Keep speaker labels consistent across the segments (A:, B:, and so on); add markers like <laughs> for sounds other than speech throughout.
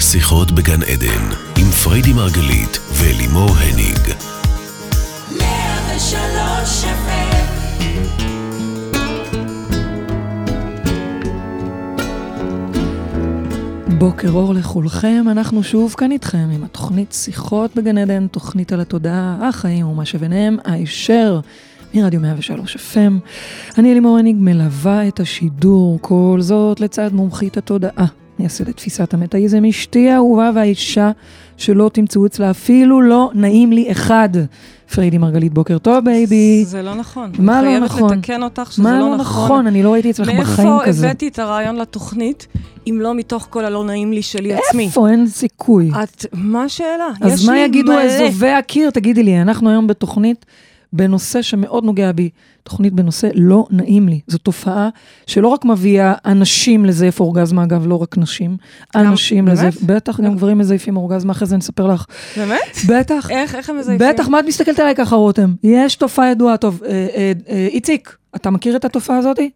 A: שיחות בגן עדן, עם פריידי מרגלית ולימור הניג.
B: 103 FM.
C: בוקר אור לכולכם, אנחנו שוב כאן איתכם עם התוכנית שיחות בגן עדן, תוכנית על התודעה, החיים ומה שביניהם, הישר מרדיו 103 FM. אני אלימור הניג מלווה את השידור, כל זאת לצד מומחית התודעה, מייסדת תפיסת המטאיזם, אשתי האהובה והאישה שלא תמצאו אצלה אפילו לא נעים לי אחד. פריידי מרגלית, בוקר טוב בייבי.
D: זה לא נכון.
C: מה לא
D: אני
C: נכון?
D: חייבת לתקן אותך שזה
C: מה
D: לא,
C: לא נכון? אני לא ראיתי אצלך בחיים
D: מאיפה
C: כזה.
D: הבאתי את הרעיון לתוכנית, אם לא מתוך כל הלא נעים לי שלי עצמי?
C: איפה? אין סיכוי.
D: את, מה השאלה? יש
C: אז מה
D: לי
C: יגידו
D: מלא.
C: אזובי הקיר? תגידי לי, אנחנו היום בתוכנית בנושא שמאוד נוגע בי, תוכנית בנושא לא נעים לי. זו תופעה שלא רק מביאה אנשים לזייף אורגזמה, אגב, לא רק נשים,
D: גם-
C: אנשים
D: באמת?
C: לזייף, בטח, גם גברים מזייפים אורגזמה, אחרי זה נספר לך.
D: באמת?
C: בטח,
D: איך, איך הם מזייפים?
C: בטח, מה את מסתכלת עליי ככה, רותם? יש תופעה ידועה, טוב, אה, אה, אה, איציק, אתה מכיר את התופעה הזאתי?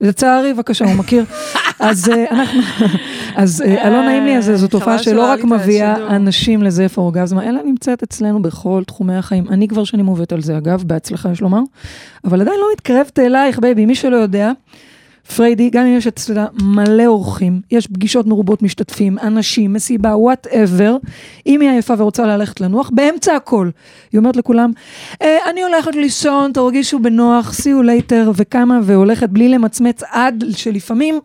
C: לצערי, בבקשה, הוא
D: <laughs>
C: מכיר. אז אה, אנחנו, אז אה, הלא נעים לי הזה, זו
D: חבל
C: תופעה
D: שלא
C: שלא רק
D: עלית
C: מביאה
D: לשידור.
C: אנשים לזייף אורגזמה, אלא נמצאת אצלנו בכל תחומי החיים. אני כבר שנים עובדת על זה, אגב, בהצלחה, יש לומר, אבל עדיין לא מתקרבת אלייך, בייבי, מי שלא יודע. פריידי, גם אם יש אצלה מלא אורחים, יש פגישות מרובות משתתפים, אנשים, מסיבה, וואטאבר, אם היא עייפה ורוצה ללכת לנוח, באמצע הכל. היא אומרת לכולם, אה, אני הולכת לישון, תרגישו בנוח, see you later, וקמה והולכת בלי למצמץ עד שלפעמים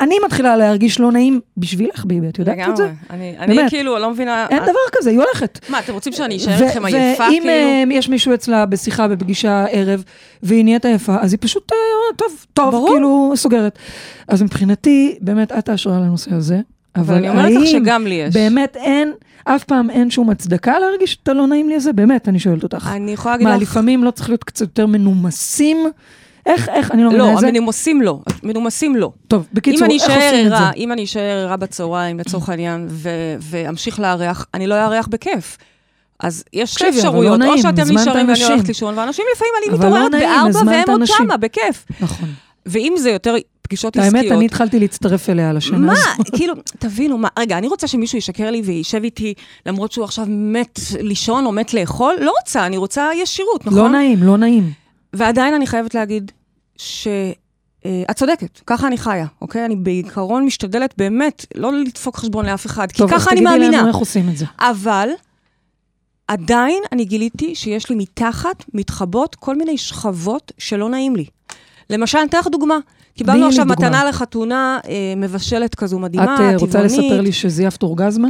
C: אני מתחילה להרגיש לא נעים בשבילך, ביבי, את יודעת את זה?
D: לגמרי. אני, אני
C: באמת.
D: כאילו לא מבינה...
C: אין
D: את-
C: דבר כזה, היא הולכת.
D: מה, אתם רוצים שאני
C: ו-
D: אשאר לכם עייפה
C: ואם
D: כאילו?
C: אה, יש מישהו אצלה בשיחה, בפגישה הערב, והיא נהיית עייפה, אז היא פשוט, אה, טוב, טוב,
D: ברור.
C: כאילו, סוגרת. אז מבחינתי, באמת, את ההשראה לנושא הזה. אבל
D: אבל אני אומרת לך
C: האם
D: שגם לי יש.
C: באמת אין, אף פעם אין שום הצדקה להרגיש את הלא נעים לי הזה? באמת, אני שואלת אותך.
D: אני יכולה להגיד
C: מה,
D: לך...
C: לפעמים לא צריך להיות קצת יותר מנומסים? איך, איך, אני לא מבינה
D: לא,
C: את זה.
D: המנומסים לא. מנומסים לא.
C: טוב,
D: אם
C: בקיצור,
D: אני
C: איך
D: אשאר
C: עושים את
D: ערה,
C: זה? Mm.
D: אם אני אשאר ערה בצהריים, לצורך העניין, ו- ואמשיך לארח, אני לא אארח בכיף. אז יש שתי
C: תקשיבי, אבל לא
D: אפשרויות, או
C: נעים,
D: שאתם
C: הזמנת
D: נשארים ואני
C: אנשים.
D: הולכת לישון, ואנשים לפעמים אני
C: אבל לא
D: מתעוררת
C: נעים,
D: בארבע
C: הזמנת
D: והם עוד
C: אנשים.
D: שמה, בכיף.
C: נכון.
D: ואם זה יותר פגישות עסקיות...
C: האמת, אני התחלתי להצטרף אליה לשנה
D: מה,
C: הזאת.
D: <laughs> כאילו, תבינו, מה, רגע, אני רוצה שמישהו ישקר לי וישב איתי, למרות שהוא עכשיו מת לישון או מת לאכול? לא רוצה, אני רוצה ישירות, נכון?
C: לא נעים, לא נעים.
D: ועדיין אני חייבת להגיד ש... אה, את צודקת, ככה אני חיה, אוקיי? אני בעיקרון משתדלת באמת לא לדפוק חשבון לאף אחד, כי
C: טוב, אז
D: ככה אני
C: תגידי
D: מאמינה.
C: לנו איך עושים את זה.
D: אבל עדיין אני גיליתי שיש לי מתחת, מתחבות, כל מיני שכבות שלא נעים לי. למשל, אני אתן לך דוגמה.
C: לי
D: קיבלנו עכשיו
C: דוגמה.
D: מתנה לחתונה אה, מבשלת כזו מדהימה,
C: את
D: טבעונית.
C: אה, רוצה לספר לי שזייפת
D: <laughs>
C: אורגזמה?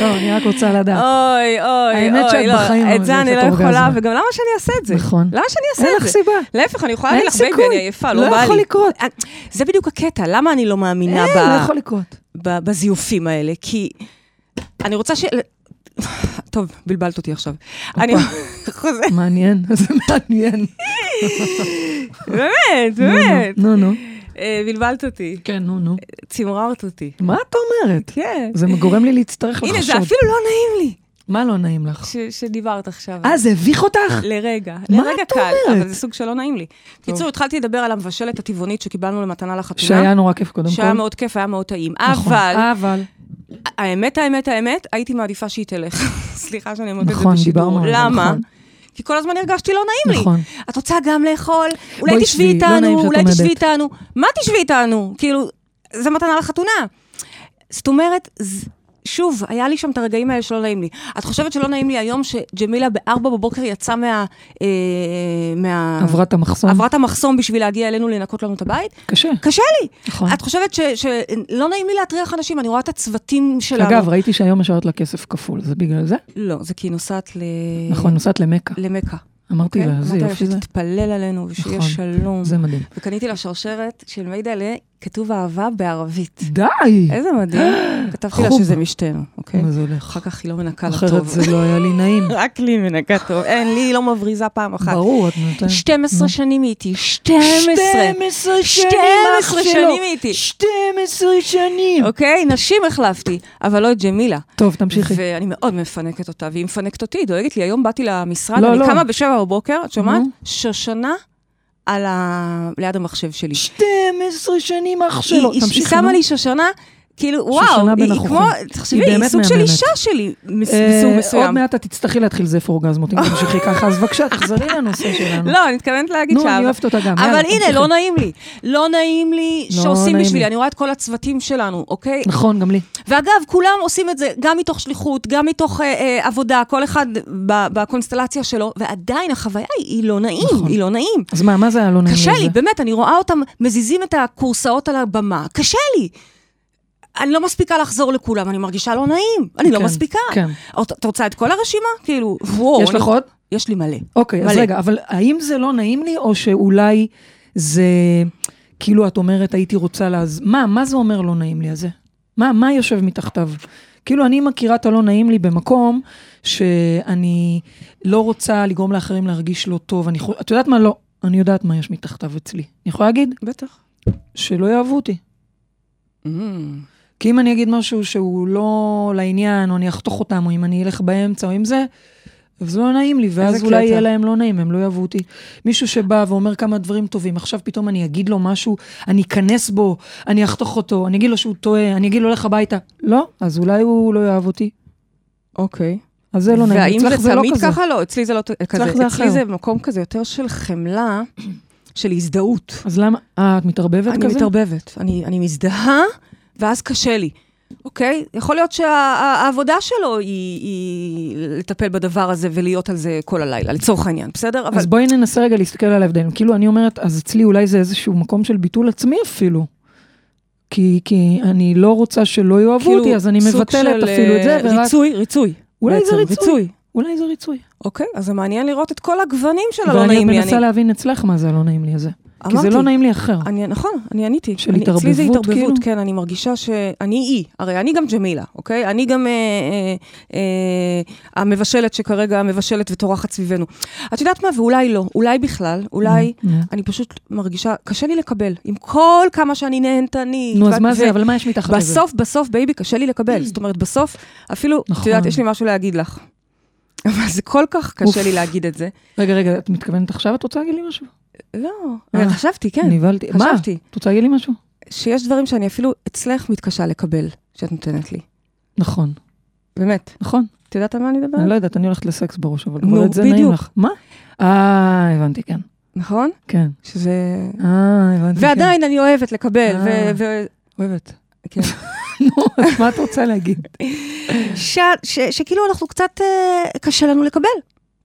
C: לא, אני רק רוצה
D: אה,
C: לדעת.
D: אוי, אוי,
C: האמת שאת
D: אוי, לא,
C: בחיים לא
D: את זה אני לא
C: מזייפת
D: יכולה,
C: אורגזמה.
D: וגם למה שאני אעשה את זה?
C: נכון.
D: למה שאני אעשה
C: אין
D: את
C: לך
D: זה?
C: סיבה.
D: להפך, אני יכולה
C: אין
D: להגיד לך, בייבי,
C: סיכוי.
D: אני עייפה,
C: לא
D: לא בא לי.
C: יכול לקרות.
D: זה בדיוק הקטע, למה אני לא מאמינה
C: אין,
D: ב-
C: לא יכול לקרות.
D: ב- בזיופים האלה? כי אני רוצה ש... טוב, בלבלת אותי עכשיו. אני חוזרת,
C: מעניין, <laughs> זה מעניין.
D: באמת,
C: נו, נו,
D: באמת.
C: נו, נו.
D: אה, בלבלת אותי,
C: כן, נו, נו.
D: צמררת אותי.
C: מה את אומרת?
D: כן.
C: זה גורם לי להצטרך לחשוד.
D: הנה, זה אפילו לא נעים לי
C: מה לא נעים לך?
D: ש- שדיברת עכשיו.
C: אה, זה הביך אותך?
D: לרגע,
C: מה
D: לרגע
C: את
D: קל,
C: אומרת?
D: אבל זה סוג שלא נעים לי. בקיצור, התחלתי לדבר על המבשלת הטבעונית שקיבלנו למתנה לחתונה.
C: שהיה נורא כיף קודם כל.
D: שהיה מאוד כיף, היה מאוד טעים.
C: נכון.
D: אבל,
C: אבל.
D: האמת, האמת, האמת, הייתי מעדיפה שהיא תלך. <laughs> סליחה שאני אומרת את זה
C: נכון, דיברנו
D: בשידור.
C: על זה,
D: למה?
C: נכון.
D: כי כל הזמן הרגשתי לא נעים לי.
C: נכון.
D: את רוצה גם לאכול? אולי
C: בואי
D: תשבי
C: שבי, לא נעים
D: איתנו,
C: שאת
D: אולי
C: עומדת.
D: תשבי איתנו. מה תשבי איתנו? כאילו, זה מתנה לחתונה. זאת אומרת, ז- שוב, היה לי שם את הרגעים האלה שלא נעים לי. את חושבת שלא נעים לי היום שג'מילה בארבע בבוקר יצאה מה... אה, מה...
C: עברה את המחסום.
D: אה, עברה את המחסום בשביל להגיע אלינו לנקות לנו את הבית?
C: קשה.
D: קשה לי.
C: נכון.
D: את חושבת ש- שלא נעים לי להטריח אנשים, אני רואה את הצוותים שלנו.
C: אגב, ראיתי שהיום השארת לה כסף כפול, זה בגלל זה?
D: לא, זה כי היא נוסעת ל...
C: נכון, נוסעת למכה.
D: למכה.
C: אמרתי
D: אוקיי?
C: לה, זה
D: אמרתי לה
C: יופי זה.
D: שתתפלל עלינו ושיהיה
C: נכון.
D: שלום.
C: זה מדהים.
D: וקניתי לה שרשרת של מיידלה, כתוב אהבה בערבית.
C: די!
D: איזה
C: <gasps>
D: מדהים. כתבתי לה
C: חוב.
D: שזה משתנו, אוקיי?
C: מה זה הולך?
D: אחר כך היא לא מנקה לה
C: אחרת
D: טוב.
C: זה לא היה לי נעים.
D: <laughs> רק לי מנקה טוב. אין, לי היא לא מבריזה פעם אחת.
C: ברור, אוקיי. את נותנת.
D: 12 שנים היא איתי, 12.
C: 12
D: 12 שנים הייתי.
C: 12 שנים.
D: אוקיי? נשים החלפתי, אבל לא את ג'מילה.
C: טוב, תמשיכי.
D: ואני מאוד מפנקת אותה, והיא מפנקת אותי, היא דואגת לי. היום באתי למשרד,
C: לא,
D: אני
C: לא.
D: קמה בשבע בבוקר, את שומעת?
C: נו.
D: שושנה על ה... ליד המחשב שלי.
C: 12 שנים אח
D: היא- היא- היא
C: תמשיכי.
D: שמה
C: נו.
D: לי שושנה כאילו,
C: שושנה
D: וואו, היא,
C: בין
D: היא
C: החוכים.
D: כמו,
C: היא
D: תחשבי, היא
C: באמת
D: סוג של
C: מהממת.
D: אישה שלי, מס-
C: אה,
D: מסוג
C: עוד
D: מסוים.
C: מעט את תצטרכי להתחיל לזייף אורגזמות,
D: <laughs>
C: אם תמשיכי ככה, אז בבקשה, תחזרי לנושא שלנו.
D: לא, אני מתכוונת להגיד
C: נו,
D: שאהבה-
C: אני אוהבת אותה גם, יאללה,
D: אבל הנה,
C: תמשיכי.
D: לא נעים לי. לא נעים לי
C: לא
D: שעושים
C: נעים לי.
D: בשבילי. אני רואה את כל הצוותים שלנו, אוקיי?
C: נכון, גם לי.
D: ואגב, כולם עושים את זה גם מתוך שליחות, גם מתוך אה, אה, עבודה, כל אחד ב- בקונסטלציה שלו, ועדיין החוויה היא, היא לא נעים,
C: נכון.
D: היא לא נעים.
C: אז מה, מה זה היה לא נעים
D: קשה לי,
C: לזה?
D: באמת, אני רואה אותם מזיזים את הכורסאות על הבמה, קשה לי. אני לא מספיקה לחזור לכולם, אני מרגישה לא נעים, אני לא
C: כן,
D: מספיקה.
C: כן.
D: את את רוצה את כל הרשימה? כאילו, וואו.
C: יש
D: אני-
C: לך עוד?
D: יש לי מלא.
C: אוקיי, אז
D: מלא.
C: רגע, אבל האם זה לא נעים לי, או שאולי זה, כאילו את אומרת, הייתי רוצה להז... מה, מה זה אומר לא נעים לי הזה? מה, מה יושב מתחתיו? כאילו, אני מכירה את הלא נעים לי במקום שאני לא רוצה לגרום לאחרים להרגיש לא טוב. אני יכול... את יודעת מה? לא. אני יודעת מה יש מתחתיו אצלי. אני יכולה להגיד?
D: בטח.
C: שלא יאהבו אותי.
D: Mm.
C: כי אם אני אגיד משהו שהוא לא לעניין, או אני אחתוך אותם, או אם אני אלך באמצע, או אם זה, אז לא נעים לי, ואז
D: איזה
C: אולי
D: קטע.
C: יהיה להם לא נעים, הם לא יאהבו אותי. מישהו שבא ואומר כמה דברים טובים, עכשיו פתאום אני אגיד לו משהו, אני אכנס בו, אני אחתוך אותו, אני אגיד לו שהוא טועה, אני אגיד לו לך הביתה. לא, אז אולי הוא לא יאהב אותי.
D: אוקיי.
C: אז זה לא נעים.
D: והאם
C: אצלך
D: זה
C: לא
D: תמיד
C: כזה.
D: ככה? לא, אצלי זה לא ת- כזה.
C: זה אחר.
D: אצלי זה מקום כזה יותר של חמלה, של הזדהות.
C: אז למה? אה, את מתערבבת
D: אני
C: כזה?
D: מתערבבת. אני, אני מזדהה, ואז קשה לי. אוקיי? יכול להיות שהעבודה שלו היא, היא לטפל בדבר הזה ולהיות על זה כל הלילה, לצורך העניין, בסדר? אבל...
C: אז בואי ננסה רגע להסתכל על ההבדלים. כאילו, אני אומרת, אז אצלי אולי זה איזשהו מקום של ביטול עצמי אפילו. כי, כי אני לא רוצה שלא יאהבו
D: כאילו,
C: אותי, אז אני
D: סוג
C: מבטלת
D: של,
C: אפילו את זה,
D: אה,
C: ורק...
D: ריצוי, ריצוי.
C: אולי
D: בעצם,
C: זה ריצוי. אולי זה ריצוי.
D: אוקיי, אז זה מעניין לראות את כל הגוונים של הלא
C: ואני
D: לא, נעים לי.
C: מנסה להבין אצלך מה זה הלא נעים לי הזה. כי זה
D: אמרתי.
C: לא נעים לי אחר.
D: אני, נכון, אני עניתי.
C: של
D: אני, אצלי זה
C: התערבבות,
D: התערבבות,
C: כאילו?
D: כן, אני מרגישה שאני היא. הרי אני גם ג'מילה, אוקיי? אני גם אה, אה, אה, המבשלת שכרגע מבשלת וטורחת סביבנו. את יודעת מה? ואולי לא. אולי בכלל, אולי...
C: Mm, yeah.
D: אני פשוט מרגישה, קשה לי לקבל, עם כל כמה שאני נהנתנית.
C: נו, אז
D: ואת-
C: מה זה,
D: ו-
C: אבל מה יש מתחת לזה?
D: בסוף, בסוף, בייבי, קשה לי לקבל. זאת אומרת, בסוף, אפילו, את
C: נכון.
D: יודעת, יש לי משהו להגיד לך. <laughs> אבל זה כל כך
C: אוף.
D: קשה לי להגיד את זה.
C: רגע, רגע, את מתכוונת עכשיו? את רוצה להגיד לי משהו?
D: לא,
C: אה.
D: חשבתי, כן.
C: נבהלתי. מה?
D: חשבתי.
C: את רוצה להגיד לי משהו?
D: שיש דברים שאני אפילו אצלך מתקשה לקבל, שאת נותנת לי.
C: נכון,
D: באמת.
C: נכון.
D: את יודעת על מה אני מדברת?
C: אני לא יודעת, אני הולכת לסקס בראש, אבל
D: אה. נו,
C: כבר את זה נעים
D: בדיוק.
C: לך. מה? אה, הבנתי, כן.
D: נכון?
C: כן.
D: שזה...
C: אה, הבנתי, כן.
D: ועדיין אני אוהבת לקבל,
C: אה.
D: ו... ו-
C: אוהבת. <laughs>
D: כן.
C: נו, אז מה את רוצה להגיד?
D: ש- ש- שכאילו אנחנו קצת... אה, קשה לנו לקבל.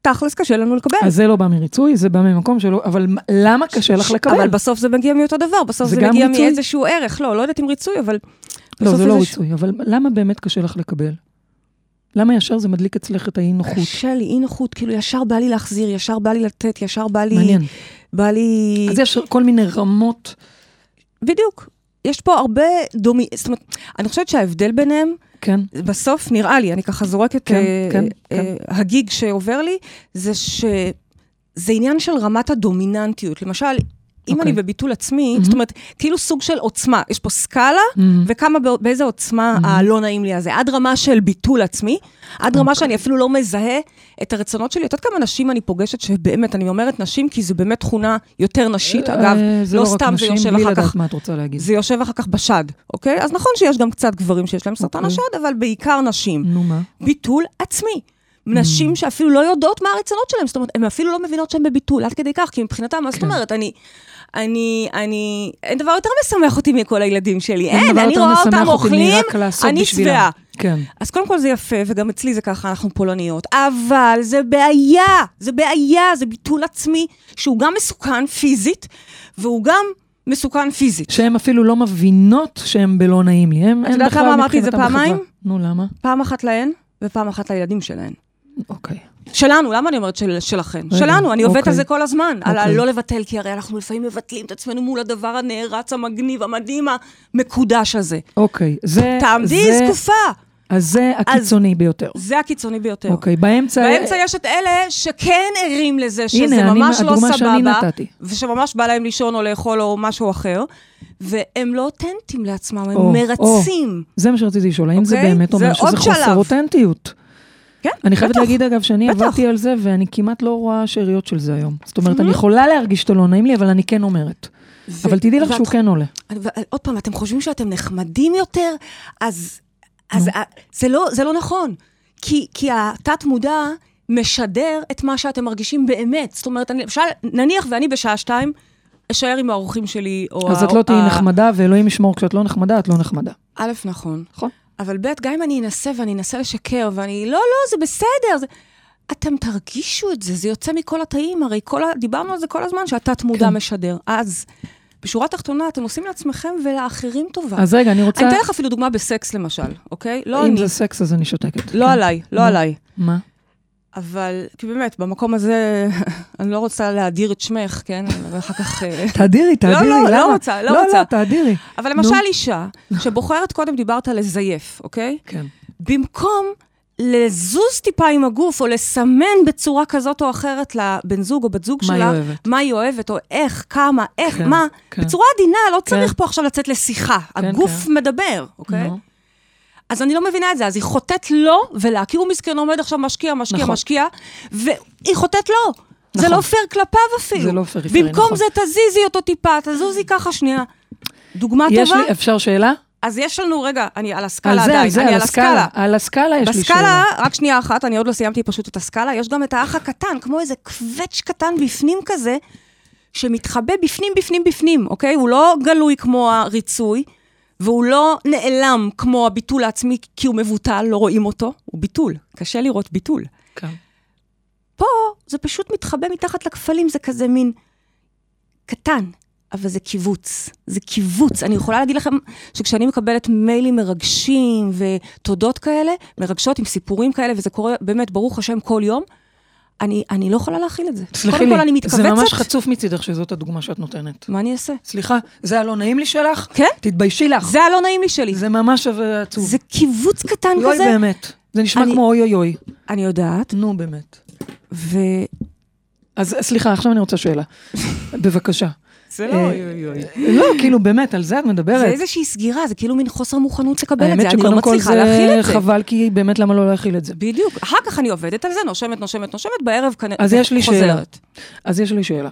D: תכלס קשה לנו לקבל.
C: אז זה לא בא מריצוי, זה בא ממקום שלא, אבל מ- למה קשה לך לקבל?
D: אבל בסוף זה מגיע מאותו דבר, בסוף
C: זה
D: זה,
C: גם
D: מגיע
C: ריצוי?
D: מאיזשהו ערך. לא, לא יודעת אם ריצוי, אבל...
C: לא,
D: בסוף
C: זה לא
D: איזשהו-
C: ריצוי, אבל למה באמת קשה לך לקבל? למה ישר זה מדליק אצלך את האי נוחות?
D: קשה לי, אי נוחות, כאילו ישר בא לי להחזיר, ישר בא לי לתת, ישר בא לי...
C: מעניין.
D: בא לי...
C: אז יש כל מיני רמות,
D: בדיוק. יש פה הרבה דומי... זאת אומרת, אני חושבת שההבדל ביניהם
C: כן?
D: בסוף, נראה לי, אני ככה זורקת,
C: כן,
D: כן,
C: כן,
D: כן, אה, הגיג שעובר לי, זה שזה עניין של רמת הדומיננטיות. למשל, אם
C: אוקיי.
D: אני בביטול עצמי,
C: מהמם.
D: זאת אומרת, כאילו סוג של עוצמה, יש פה סקאלה,
C: Mm-hmm.
D: וכמה, בא- באיזה עוצמה
C: Mhm.
D: הלא נעים לי הזה. עד רמה של ביטול עצמי, עד רמה
C: אוקיי.
D: שאני אפילו לא מזהה את הרצונות שלי. את יודעת כמה נשים אני פוגשת שבאמת, אני אומרת נשים, כי זו באמת תכונה יותר נשית, אגב,
C: אה, זה
D: לא
C: רק
D: סתם זה
C: נשים,
D: יושב
C: בלי
D: אחר
C: לדעת
D: כך.
C: מה את רוצה להגיד.
D: זה יושב אחר כך בשד, אוקיי? אז נכון שיש גם קצת גברים שיש להם סרטן
C: אוקיי.
D: השד, אבל בעיקר נשים.
C: נו מה?
D: ביטול עצמי. נשים שאפילו לא יודעות מה הרצונות שלהן, זאת אומרת, הן אפילו לא מבינות שהן בביטול, עד כדי כך, כי מבחינתן, מה זאת
C: כן.
D: אומרת, אני, אני, אני, אין דבר יותר משמח אותי מכל הילדים שלי, אין,
C: דבר
D: אני
C: יותר
D: רואה
C: משמח
D: אותם
C: אותי
D: אוכלים,
C: מרק לעשות
D: אני
C: בשבילם.
D: שבעה.
C: כן.
D: אז קודם כל זה יפה, וגם אצלי זה ככה, אנחנו פולניות, אבל זה בעיה, זה בעיה, זה ביטול עצמי, שהוא גם מסוכן פיזית, והוא גם מסוכן פיזית.
C: שהן אפילו לא מבינות שהן בלא נעים לי. הן-
D: את
C: הן
D: יודעת
C: בכלל
D: למה אמרתי את זה
C: מבחינתן בחברה.
D: פעמיים?
C: נו, למה?
D: פעם אחת להן, ופעם אחת לילדים שלהן.
C: אוקיי.
D: שלנו, למה אני אומרת של, שלכן?
C: רגע,
D: שלנו, אני עובדת
C: אוקיי.
D: על זה כל הזמן, על
C: אוקיי.
D: הלא לבטל, כי הרי אנחנו לפעמים מבטלים את עצמנו מול הדבר הנערץ, המגניב, המדהים, המקודש הזה.
C: אוקיי, זה...
D: תעמדי
C: זה-
D: זקופה!
C: אז זה הקיצוני ביותר.
D: זה הקיצוני ביותר.
C: אוקיי, באמצע...
D: באמצע יש את אלה שכן ערים לזה שזה
C: הנה, אני-
D: ממש לא
C: הדוגמה שאני
D: סבבה,
C: נתתי.
D: ושממש בא להם לישון או לאכול או משהו אחר, והם לא אותנטיים לעצמם, הם
C: או,
D: מרצים.
C: זה מה שרציתי לשאול, האם זה
D: אוקיי?
C: באמת
D: זה
C: אומר
D: עוד
C: שזה חוסר
D: שלב.
C: אותנטיות?
D: כן,
C: אני חייבת
D: בטח.
C: להגיד, אגב, שאני
D: בטח.
C: עבדתי על זה,
D: Mm-hmm.
C: ואני כמעט לא רואה שאריות של זה היום. זאת אומרת, אני יכולה להרגיש שאתה לא נעים לי, אבל אני כן אומרת.
D: ו-
C: אבל תדעי לך
D: ואת-
C: שהוא כן עולה.
D: אני- ו- עוד פעם, אתם חושבים שאתם נחמדים יותר? אז, אז ה- זה, לא, זה לא נכון. כי, כי התת-מודע משדר את מה שאתם מרגישים באמת. זאת אומרת, אני, למשל, נניח ואני בשעה שתיים אשאר עם האורחים שלי, או...
C: אז
D: ה-
C: את לא
D: או-
C: תהיי
D: ה-
C: נחמדה, ואלוהים ישמור, כשאת לא נחמדה, את לא נחמדה.
D: א', נכון.
C: נכון.
D: אבל ב', גם אם אני אנסה ואני אנסה לשקר, ואני, לא, לא, זה בסדר. זה... אתם תרגישו את זה, זה יוצא מכל התאים, הרי כל ה... דיברנו על זה כל הזמן, שהתת-מודע
C: כן.
D: משדר. אז, בשורה התחתונה, אתם עושים לעצמכם ולאחרים טובה.
C: אז רגע, אני רוצה...
D: אני אתן לך אפילו דוגמה בסקס, למשל, אוקיי? לא
C: אם
D: אני,
C: זה סקס, אז אני שותקת.
D: לא
C: כן.
D: עליי, לא
C: נו.
D: עליי.
C: מה?
D: אבל, כי באמת, במקום הזה, <laughs> אני לא רוצה להדיר את שמך, כן? ואחר
C: <laughs>
D: כך... אה,
C: תאדירי, תאדירי,
D: לא,
C: למה?
D: לא רוצה, לא
C: לא,
D: רוצה.
C: לא, תאדירי.
D: אבל
C: נו.
D: למשל אישה, שבוחרת, קודם דיברת על לזייף, אוקיי?
C: כן.
D: במקום לזוז טיפה עם הגוף, או לסמן בצורה כזאת או אחרת לבן זוג או בת זוג
C: מה
D: שלה,
C: היא אוהבת?
D: מה היא אוהבת, או איך, כמה, איך,
C: כן,
D: מה,
C: כן.
D: בצורה עדינה, לא צריך
C: כן.
D: פה עכשיו לצאת לשיחה.
C: כן,
D: הגוף
C: כן.
D: מדבר, אוקיי?
C: נו.
D: אז אני לא מבינה את זה, אז היא חוטאת לו ולה, כי הוא מסכן עומד עכשיו משקיע, משקיע,
C: נכון.
D: משקיע, והיא חוטאת לו. זה
C: נכון.
D: לא פייר כלפיו אפילו.
C: זה לא fair, fair,
D: במקום
C: נכון.
D: זה תזיזי אותו טיפה, תזוזי ככה שנייה. דוגמה
C: יש
D: טובה?
C: לי, אפשר שאלה?
D: אז יש לנו, רגע, אני על
C: על
D: הסקאלה
C: זה,
D: עדיין,
C: על זה,
D: אני
C: על הסקאלה. על הסקאלה יש לי
D: בסקאלה,
C: שאלה.
D: רק שנייה אחת, אני עוד לא סיימתי פשוט את הסקאלה, יש גם את האח הקטן, כמו איזה קווץ' קטן בפנים כזה, שמתחבא בפנים, בפנים, בפנים, אוקיי? הוא לא גלוי כמו הריצוי, והוא לא נעלם כמו הביטול העצמי, כי הוא מבוטל, לא רואים אותו, הוא ביטול, קשה לראות ביטול.
C: כן.
D: פה זה פשוט מתחבא מתחת לכפלים, זה כזה מין קטן, אבל זה קיבוץ. זה קיבוץ. אני יכולה להגיד לכם שכשאני מקבלת מיילים מרגשים ותודות כאלה, מרגשות עם סיפורים כאלה, וזה קורה באמת, ברוך השם, כל יום, אני, אני לא יכולה להכיל את זה.
C: סלחי
D: קודם
C: לי,
D: כל, אני מתכווצת.
C: זה ממש חצוף מצידך שזאת הדוגמה שאת נותנת.
D: מה אני אעשה?
C: סליחה, זה הלא נעים לי שלך?
D: כן?
C: תתביישי לך.
D: זה הלא נעים לי שלי. זה,
C: זה ממש אבל עצוב.
D: זה קיבוץ קטן
C: יואי
D: כזה.
C: באמת. זה נשמע
D: אני-
C: כמו אוי אוי אוי.
D: אני יודעת,
C: נו באמת.
D: ו...
C: אז סליחה, עכשיו אני רוצה
D: <laughs>
C: שאלה. בבקשה.
D: זה
C: לא אוי, לא, כאילו באמת, על זה את מדברת.
D: אה, זה איזושהי סגירה, זה כאילו מין חוסר מוכנות לקבל את
C: האמת
D: זה. אני לא
C: שקודם כל
D: מצליחה להכיל
C: זה
D: את זה.
C: חבל, כי באמת למה לא להכיל את זה?
D: בדיוק. אחר כך אני עובדת על זה, נושמת, נושמת, נושמת, בערב כנראה
C: אז יש לי שאלה.
D: חוזרת.
C: אז יש לי שאלה.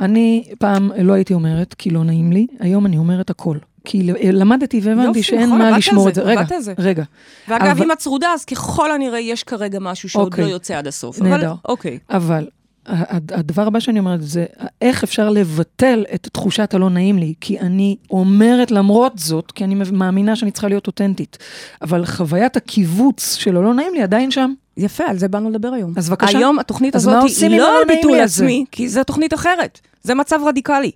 C: אני פעם לא הייתי אומרת, כי לא נעים לי, היום אני אומרת הכל. כי ל- למדתי
D: יופי,
C: והבנתי שאין
D: נכון, עבדת
C: מה
D: על
C: לשמור
D: זה,
C: את זה. רגע,
D: עבדת על זה.
C: רגע.
D: ואגב,
C: אבל-
D: אם את צרודה, אז ככל הנראה יש כרגע משהו שעוד
C: אוקיי.
D: לא יוצא עד הסוף. אבל-
C: נהדר.
D: אוקיי.
C: אבל הד- הדבר הבא שאני אומרת זה, איך אפשר לבטל את תחושת הלא נעים לי? כי אני אומרת למרות זאת, כי אני מאמינה שאני צריכה להיות אותנטית. אבל חוויית הקיבוץ של הלא נעים לי עדיין שם.
D: יפה, על זה באנו לדבר היום.
C: אז בבקשה.
D: היום התוכנית
C: אז
D: הזאת
C: מה
D: היא
C: עושים עם
D: לא על
C: הלא נעים
D: ביטול
C: לי הזה?
D: עצמי, כי זו תוכנית אחרת. זה מצב רדיקלי.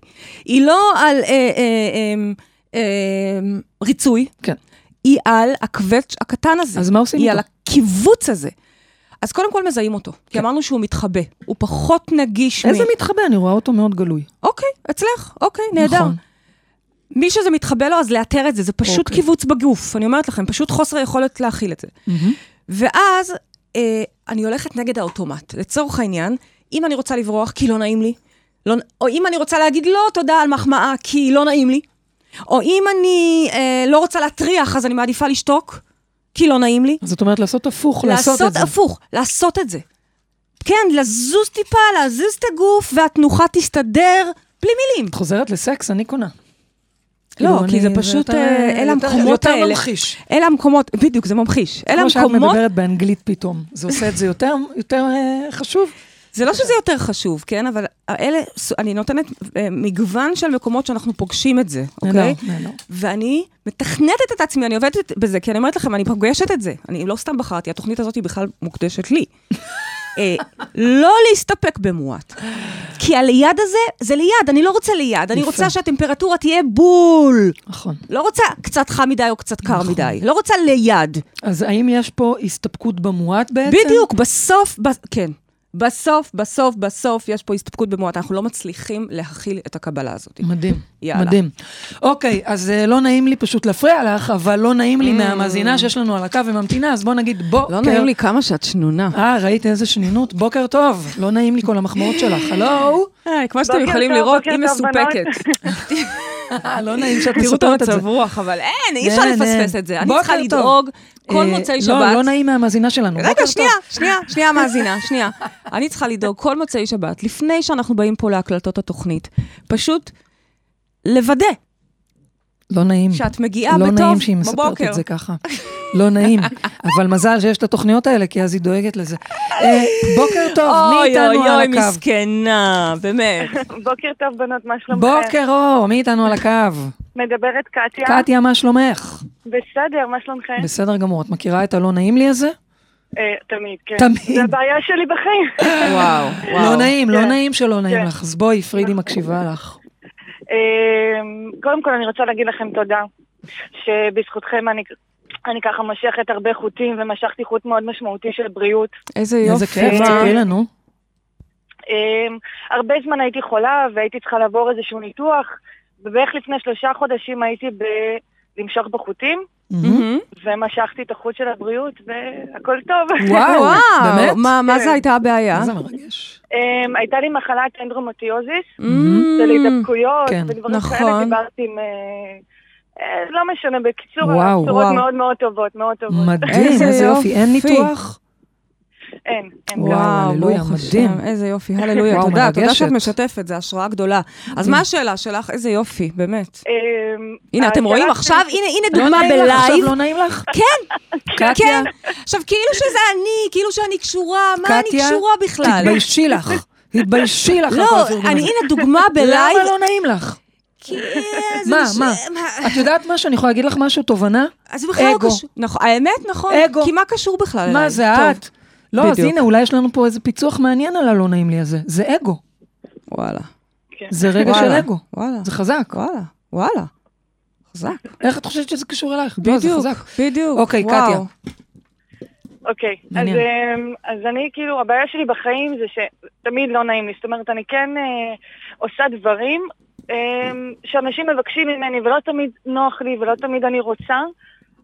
D: היא לא על אה, אה, אה, אה, ריצוי,
C: כן.
D: היא על הקווץ' הקטן הזה.
C: אז מה עושים
D: היא
C: איתו? כן.
D: על הקיבוץ הזה. אז קודם כל מזהים אותו, כי אמרנו שהוא מתחבא, הוא פחות נגיש
C: איזה
D: מ...
C: מתחבא, אני רואה אותו מאוד גלוי.
D: אוקיי, אצלך, אוקיי, נהדר.
C: נכון.
D: מי שזה מתחבא לו, אז לאתר את זה, זה פשוט
C: אוקיי.
D: אוקיי. קיבוץ בגוף, אני אומרת לכם, פשוט חוסר יכולת להכיל את זה. ואז אה, אני הולכת נגד האוטומט. לצורך העניין, אם אני רוצה לברוח כי לא נעים לי, לא, נ- או אם אני רוצה להגיד לא תודה על מחמאה כי לא נעים לי, או אם אני אה, לא רוצה להטריח אז אני מעדיפה לשתוק כי לא נעים לי,
C: זאת אומרת, לעשות הפוך, לעשות את
D: לעשות
C: זה.
D: הפוך, לעשות את זה. כן, לזוז טיפה, להזיז את הגוף, והתנוחה תסתדר, בלי מילים.
C: את חוזרת לסקס, אני קונה.
D: לא,
C: כאילו,
D: כי זה
C: אני-
D: פשוט,
C: יותר-
D: אה, אלה
C: יותר-
D: המקומות
C: יותר
D: האלה.
C: ממחיש.
D: אלה המקומות, בדיוק, זה ממחיש. אלה
C: כמו שאת
D: המקומות,
C: מדברת באנגלית פתאום. זה עושה את זה יותר, יותר אה, חשוב.
D: זה לא שזה יותר חשוב, כן? אבל אלה, אני נותנת אה, מגוון של מקומות שאנחנו פוגשים את זה,
C: נהדר,
D: אוקיי?
C: נהדר.
D: ואני מתכנתת את עצמי, אני עובדת בזה, כי אני אומרת לכם, אני פוגשת את זה. אני לא סתם בחרתי, התוכנית הזאת היא בכלל מוקדשת <laughs> לי. אה, לא להסתפק במועט. כי הליד הזה, זה ליד, אני לא רוצה ליד, אני
C: יפה.
D: רוצה שהטמפרטורה תהיה בול.
C: נכון.
D: לא רוצה קצת חם מדי או קצת קר מדי, לא רוצה ליד.
C: אז האם יש פה הסתפקות במועט בעצם?
D: בדיוק, בסוף, ב... כן. בסוף, בסוף, בסוף, יש פה הסתפקות במועט. אנחנו לא מצליחים להכיל את הקבלה הזאת.
C: מדהים,
D: יאללה.
C: מדהים. אוקיי, אז אה, לא נעים לי פשוט להפריע לך, אבל לא נעים
D: Mm.
C: לי מהמאזינה שיש לנו על הקו וממתינה, אז בוא נגיד בוקר.
D: לא כן. כמה שאת שנונה.
C: אה, ראית איזה שנינות? בוקר טוב. לא נעים לי כל המחמאות שלך,
D: <laughs>
C: הלו?
D: היי, אה, כמו שאתם
B: בוקר
D: יכולים
B: טוב,
D: לראות,
B: בוקר
D: היא
B: טוב,
D: מסופקת.
C: אה, לא נעים שאת
D: תראו את
C: מספרת את זה.
D: המצב רוח, אבל אין, אי אפשר
C: אין,
D: לפספס
C: אין.
D: את זה. אני
C: בוקר
D: צריכה
C: טוב.
D: לדאוג כל
C: אה,
D: מוצאי
C: לא, לא
D: שבת.
C: נעים מהמאזינה שלנו. בוקר
D: רגע, שנייה,
C: טוב.
D: שנייה, שנייה, מאזינה, שנייה. אני צריכה לדאוג כל מוצאי שבת, לפני שאנחנו באים פה להקלטות התוכנית, פשוט לוודא
C: לא נעים.
D: שאת מגיעה
C: לא
D: בטוב
C: נעים שהיא מספרת
D: בבוקר.
C: את זה ככה. לא נעים. אבל מזל שיש את התוכניות האלה, כי אז היא דואגת לזה. אה, בוקר טוב, מי איתנו על
D: אוי, אוי,
C: הקו?
D: מסכנה,
C: <laughs>
D: באמת.
B: בוקר טוב, בנות, מה שלומכם?
C: בוקר אור, מי איתנו על הקו?
B: מדברת קטיה.
C: קטיה, מה שלומך?
B: בסדר, מה שלומכם?
C: בסדר גמור, את מכירה את הלא נעים לי הזה?
B: אה, תמיד, כן.
C: תמיד.
B: זה הבעיה שלי
C: <laughs>
B: בחיים.
D: וואו, וואו.
C: לא נעים, לא
B: כן.
C: נעים שלא נעים
B: כן.
C: לך. אז בואי, פרידי מקשיבה לך.
B: אה, קודם כל, אני רוצה להגיד לכם תודה, שבזכותכם אני... אני ככה מושכת הרבה חוטים, ומשכתי חוט מאוד משמעותי של בריאות.
D: איזה
C: איזה
D: יופי.
C: כיף, כאילו- תספרי
D: <laughs>
C: לנו.
B: אמ, הרבה זמן הייתי חולה, והייתי צריכה לעבור איזשהו ניתוח, ובערך לפני שלושה חודשים הייתי ב... למשוך בחוטים,
D: מהמם.
B: ומשכתי את החוט של הבריאות, והכל טוב. <laughs>
C: וואו, באמת?
D: מה- מה זה
B: כן.
D: הייתה הבעיה?
C: מה זה מרגש?
B: אמ, הייתה לי מחלת אנדרומטיוזיס,
D: מהמם.
B: של התדבקויות,
C: כן,
B: ודברים
D: Mm, נכון.
B: כאלה דיברתי עם... אה, אה, לא משנה, בקיצור,
C: וואו,
B: הבשורות
D: וואו.
B: מאוד מאוד טובות, מאוד טובות.
C: מדהים,
D: איזה
C: איזה יופי. אין
D: יופי.
C: ניתוח?
B: אין, אין.
C: וואו, הללויה,
D: ברוך השם,
C: מדהים.
D: איזה יופי, הללויה,
C: וואו,
D: תודה, תודה
C: מרגשת.
D: שאת משתפת, זו השראה גדולה. אז מה השאלה שלך? איזה יופי, באמת.
B: אמ,
D: הנה, אתם
B: השאלה
D: רואים
B: שלי-
D: עכשיו, הנה, הנה
C: לא
D: דוגמה
C: נעים לך, עכשיו
D: בלייב.
C: לא נעים לך?
D: <laughs> כן,
C: קטיה,
D: כן. עכשיו, כאילו שזה אני, כאילו שאני קשורה, מה אני
C: קטיה,
D: קשורה בכלל?
C: תתביישי לך. תתביישי לך. על כל
D: לא,
C: הפרגון
D: אני,
C: הזה.
D: הנה דוגמה בלייב.
C: למה לא נעים לך?
D: כי, אה, זה
C: מה,
D: מש-
C: מה? את יודעת משהו? אני יכולה להגיד לך משהו? תובנה?
D: אז זה בכלל לא
C: אגו.
D: קשור. נכון, האמת, נכון.
C: אגו.
D: כי מה קשור בכלל אליי?
C: מה זה
D: טוב,
C: את? לא, אז
D: בדיוק.
C: הנה, אולי יש לנו פה איזה פיצוח מעניין על הלא נעים לי הזה. זה אגו.
D: וואלה.
C: זה רגע של
D: וואלה,
C: אגו.
D: וואלה.
C: זה חזק.
D: וואלה. וואלה. חזק.
C: איך את חושבת שזה קשור אלייך? לא, זה
D: בדיוק,
C: חזק.
D: בדיוק.
C: אוקיי,
D: וואו.
C: קטיה.
B: אוקיי, אז,
C: מעניין.
B: אמ, אז אני כאילו, הבעיה שלי בחיים זה שתמיד לא נעים לי. זאת אומרת, אני כן אה, עושה דברים אמ, שאנשים מבקשים ממני, ולא תמיד נוח לי, ולא תמיד אני רוצה,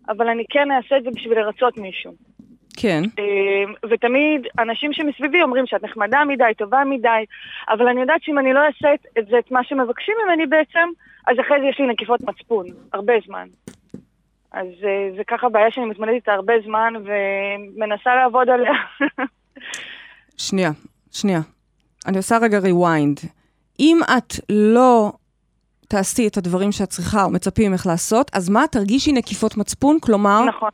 B: אבל אני כן אעשה את זה בשביל לרצות מישהו.
D: כן.
B: אמ, ותמיד אנשים שמסביבי אומרים שאת נחמדה מדי, טובה מדי, אבל אני יודעת שאם אני לא אעשה את- את זה, את מה שמבקשים ממני בעצם, אז אחרי זה יש לי נקיפות מצפון, הרבה זמן. אז אה, זה ככה בעיה שאני מתמודדת איתה הרבה זמן ומנסה לעבוד עליה. <laughs>
D: שנייה, שנייה. אני עושה רגע rewind. אם את לא תעשי את הדברים שאת צריכה או מצפים ממך לעשות, אז מה, תרגישי נקיפות מצפון? כלומר,
B: נכון,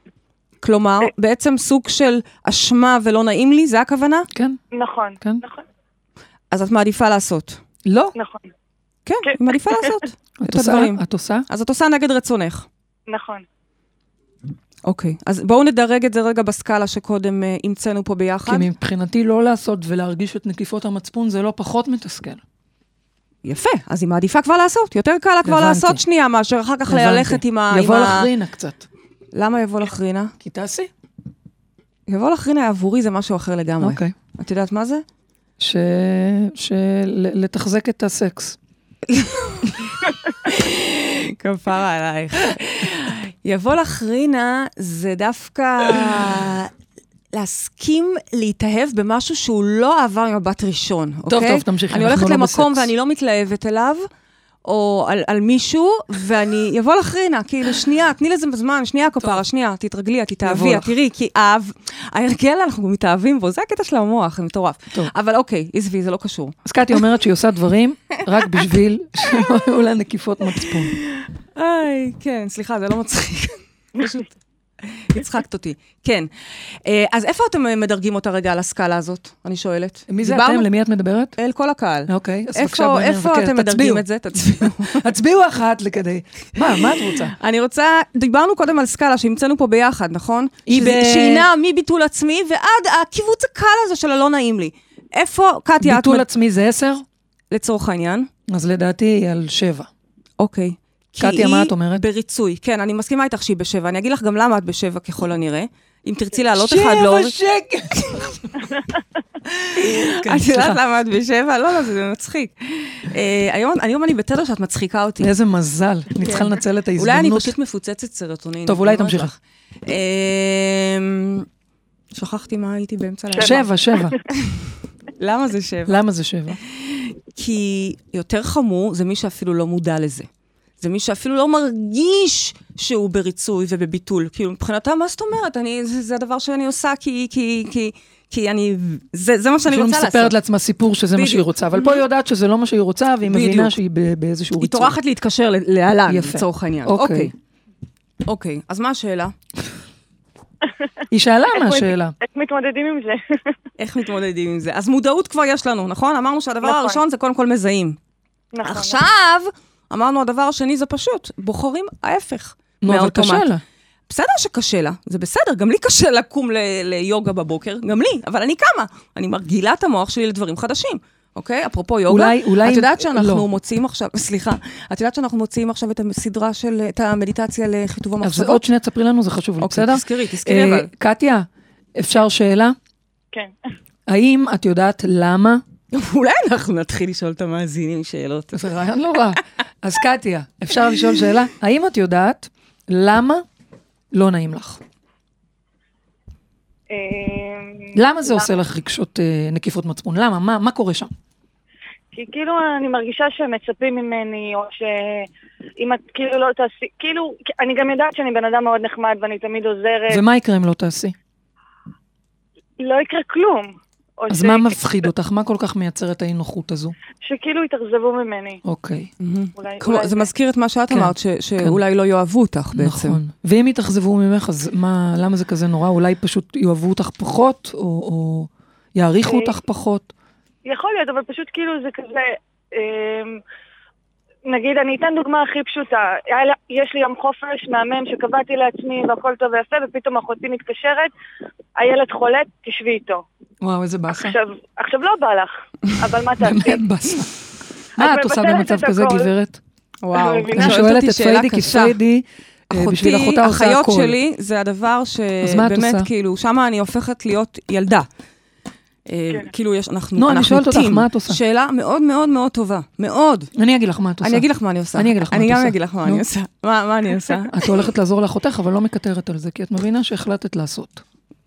D: כלומר,
B: אה.
D: בעצם סוג של אשמה ולא נעים לי, זה הכוונה?
C: כן.
B: נכון,
C: כן.
B: נכון,
D: אז את מעדיפה לעשות.
C: לא.
B: נכון,
D: כן,
B: כן.
D: היא מעדיפה לעשות
C: את
D: את
C: עושה?
D: הדברים.
C: את עושה?
D: אז את עושה נגד רצונך.
B: נכון.
D: אוקיי, אז בואו נדרג את זה רגע בסקאלה שקודם אה, המצאנו פה ביחד.
C: כי מבחינתי לא לעשות ולהרגיש את נקיפות המצפון זה לא פחות מתסכל.
D: יפה, אז היא מעדיפה כבר לעשות. יותר קל לה כבר
C: הבנתי.
D: לעשות שנייה מאשר אחר כך ללכת
C: הבנתי.
D: עם ה... עם
C: יבוא
D: ה-
C: לך רינה קצת.
D: למה יבוא לך רינה?
C: כי תעשי.
D: יבוא לך רינה עבורי זה משהו אחר לגמרי.
C: אוקיי.
D: את יודעת מה זה?
C: לתחזק את הסקס.
D: כפרה עלייך. יבוא לך רינה זה דווקא להסכים להתאהב במשהו שהוא לא עבר מבט ראשון, אוקיי?
C: טוב, תמשיכי,
D: אני
C: אנחנו
D: הולכת
C: לא
D: למקום
C: בסקס.
D: ואני לא מתלהבת אליו. או על, על מישהו, ואני, יבוא לך רינה, כאילו, שנייה, תני לזה זמן, שנייה, כפרה, שנייה, תתרגלי, את תתאהבי,
C: יבוא
D: את
C: לך.
D: תראי, כי אהב, ההרגל, אנחנו מתאהבים בו, זה הקטע של המוח, זה מטורף.
C: טוב.
D: אבל אוקיי, עזבי, זה לא קשור.
C: אז
D: <laughs>
C: קטי אומרת שהיא עושה דברים רק בשביל <laughs> שלא יהיו לה נקיפות מצפון.
D: היי, כן, סליחה, זה לא מצחיק. פשוט הצחקת אותי. כן. אה, אז איפה אתם אה, מדרגים אותה רגע על הסקאלה הזאת? אני שואלת.
C: מי זה
D: דיברנו-
C: אתם? למי את מדברת?
D: אל כל הקהל.
C: אוקיי, אז בבקשה,
D: איפה,
C: בואי
D: איפה
C: נבקר.
D: אתם
C: תצביעו.
D: מדרגים את זה? תצביעו.
C: <laughs>
D: <laughs>
C: הצביעו אחת לכדי... מה, מה את רוצה?
D: אני רוצה, דיברנו קודם על סקאלה שהמצאנו פה ביחד, נכון?
C: היא
D: שזה-
C: ב-
D: שהיא נעה מביטול עצמי ועד הקיבוץ הקל הזה של הלא נעים לי. איפה, קטיה, את
C: ביטול
D: מד-
C: עצמי זה עשר?
D: לצורך העניין?
C: אז לדעתי היא על שבע.
D: אוקיי. כי
C: קטיה, מה את אומרת?
D: היא בריצוי. כן, אני מסכימה איתך שהיא בשבע. אני אגיד לך גם למה את בשבע ככל הנראה. אם תרצי לעלות אחד לא...
C: שבע שקל! כן,
D: את
C: סליחה.
D: יודעת למה את בשבע? לא, לא, זה- זה מצחיק. אה, היום היום אני בתדר שאת מצחיקה אותי.
C: איזה מזל, אני צריכה לנצל את
D: כן. אולי אני
C: ההזדמנות.
D: פשוט מפוצצת סרטונין.
C: טוב, אולי
D: אני אומרת
C: תמשיכי.
D: לך. אמ, שכחתי מה הייתי באמצע הלילה.
C: שבע,
D: <laughs>
C: שבע.
D: למה זה שבע?
C: למה זה שבע?
D: כי יותר חמור זה מי שאפילו לא מודע לזה. זה מי שאפילו לא מרגיש שהוא בריצוי ובביטול. כאילו, מבחינתה, מה זאת אומרת? אני, זה, זה הדבר שאני עושה כי, כי, כי, כי אני, זה, זה מה שאני
C: פשוט
D: רוצה לעשות.
C: לא כאילו, מספרת לעצמה סיפור שזה מה שהיא
D: בדיוק. Mm-hmm.
C: רוצה, אבל פה היא יודעת שזה לא מה שהיא רוצה, והיא מבינה
D: בדיוק.
C: שהיא ב- באיזשהו
D: היא
C: ריצוי.
D: טורחת להתקשר ל- להלן,
C: יפה.
D: לצורך העניין.
C: אוקיי.
D: אוקיי. אוקיי, אז מה השאלה?
C: היא שאלה
B: איך
C: מה
B: מת-
C: השאלה.
B: איך מתמודדים עם זה? <laughs>
D: איך מתמודדים עם זה? אז מודעות כבר יש לנו, נכון? אמרנו שהדבר
B: נכון.
D: הראשון זה קודם כל מזהים.
B: נכון.
D: עכשיו, אמרנו הדבר השני זה פשוט, בוחרים ההפך.
C: נו, אבל
D: מהאוטומט.
C: קשה לה.
D: בסדר שקשה לה, זה בסדר, גם לי קשה לקום ל- ליוגה בבוקר, גם לי, אבל אני קמה. אני מרגילה את המוח שלי לדברים חדשים, אוקיי? אפרופו יוגה,
C: אולי- אולי-
D: את יודעת שאנחנו
C: לא.
D: מוציאים עכשיו, <laughs> סליחה, את יודעת שאנחנו מוציאים עכשיו את הסדרה של, את המדיטציה לחיטוב
C: אז
D: המחשבות?
C: עוד שנייה תספרי לנו, זה חשוב לי,
D: אוקיי,
C: בסדר?
D: תזכרי, תזכרי
C: אה,
D: אבל.
C: קטיה, אפשר שאלה?
B: כן. האם...
C: האם את יודעת למה?
D: <laughs> אולי אנחנו נתחיל לשאול את המאזינים שאלות.
C: זה רעיון לא רע. אז קטיה, אפשר לשאול שאלה? האם את יודעת למה לא נעים לך?
B: אמ,
C: למה זה עושה לך רגשות אה, נקיפות מצפון? למה? מה- מה קורה שם?
B: כי כאילו אני מרגישה שמצפים ממני, או שאם את כאילו לא תעשי... כאילו, אני גם יודעת שאני בן אדם מאוד נחמד ואני תמיד עוזרת.
C: ומה יקרה אם לא תעשי?
B: לא יקרה כלום. או
C: אז
B: ש-
C: מה מפחיד אותך? מה כל כך מייצר את האי נוחות הזו?
B: שכאילו יתאכזבו ממני.
C: אוקיי,
B: אולי...
D: כמו,
B: אולי
D: זה מזכיר את מה שאת
C: כן,
D: אמרת, ש- שאולי לא יאהבו אותך בעצם.
C: נכון. ואם יתאכזבו ממך, אז מה, למה זה כזה נורא? אולי פשוט יאהבו אותך פחות, או- או יעריכו
B: אה,
C: אותך פחות?
B: יכול להיות, אבל פשוט כאילו זה כזה... אמ, נגיד, אני אתן דוגמה הכי פשוטה. היה לה- יש לי יום חופש מהמם שקבעתי לעצמי והכל טוב ויפה, ופתאום אחותי מתקשרת, הילד חולה, תשבי איתו.
C: וואו, איזה באסה.
B: עכשיו, עכשיו לא בא לך, אבל מה תעשי?
C: כן. באמת באסה. מה
B: את
C: את עושה
B: מבטלת
C: במצב
B: את
C: כזה,
B: הכל.
C: גברת?
D: וואו,
B: אני מבינה.
C: אני
D: שואלת
C: שואלת
D: אותי
C: את
D: שאלה
C: פריידי, כי
D: קשה.
C: פריידי, אה, בשביל אחותה עושה
D: אחיות
C: הכל.
D: שלי, זה הדבר
C: אז מה את
D: שבאמת,
C: עושה?
D: כאילו, שמה אני הופכת להיות ילדה. אה,
B: כן.
D: כאילו, יש, אנחנו,
C: נו, אני
D: אנחנו
C: שואלת אותך,
D: טים.
C: מה את עושה?
D: שאלה מאוד מאוד מאוד טובה, מאוד.
C: אני אגיד לך מה את עושה.
D: אני אגיד לך מה אני עושה.
C: אני אגיד לך מה את
D: אני גם
C: עושה.
D: אגיד לך מה
C: נו.
D: אני עושה. מה מה אני עושה?
C: את הולכת לעזור לאחותך, אבל לא מקטרת על זה, כי את מבינה שהחלטת לעשות.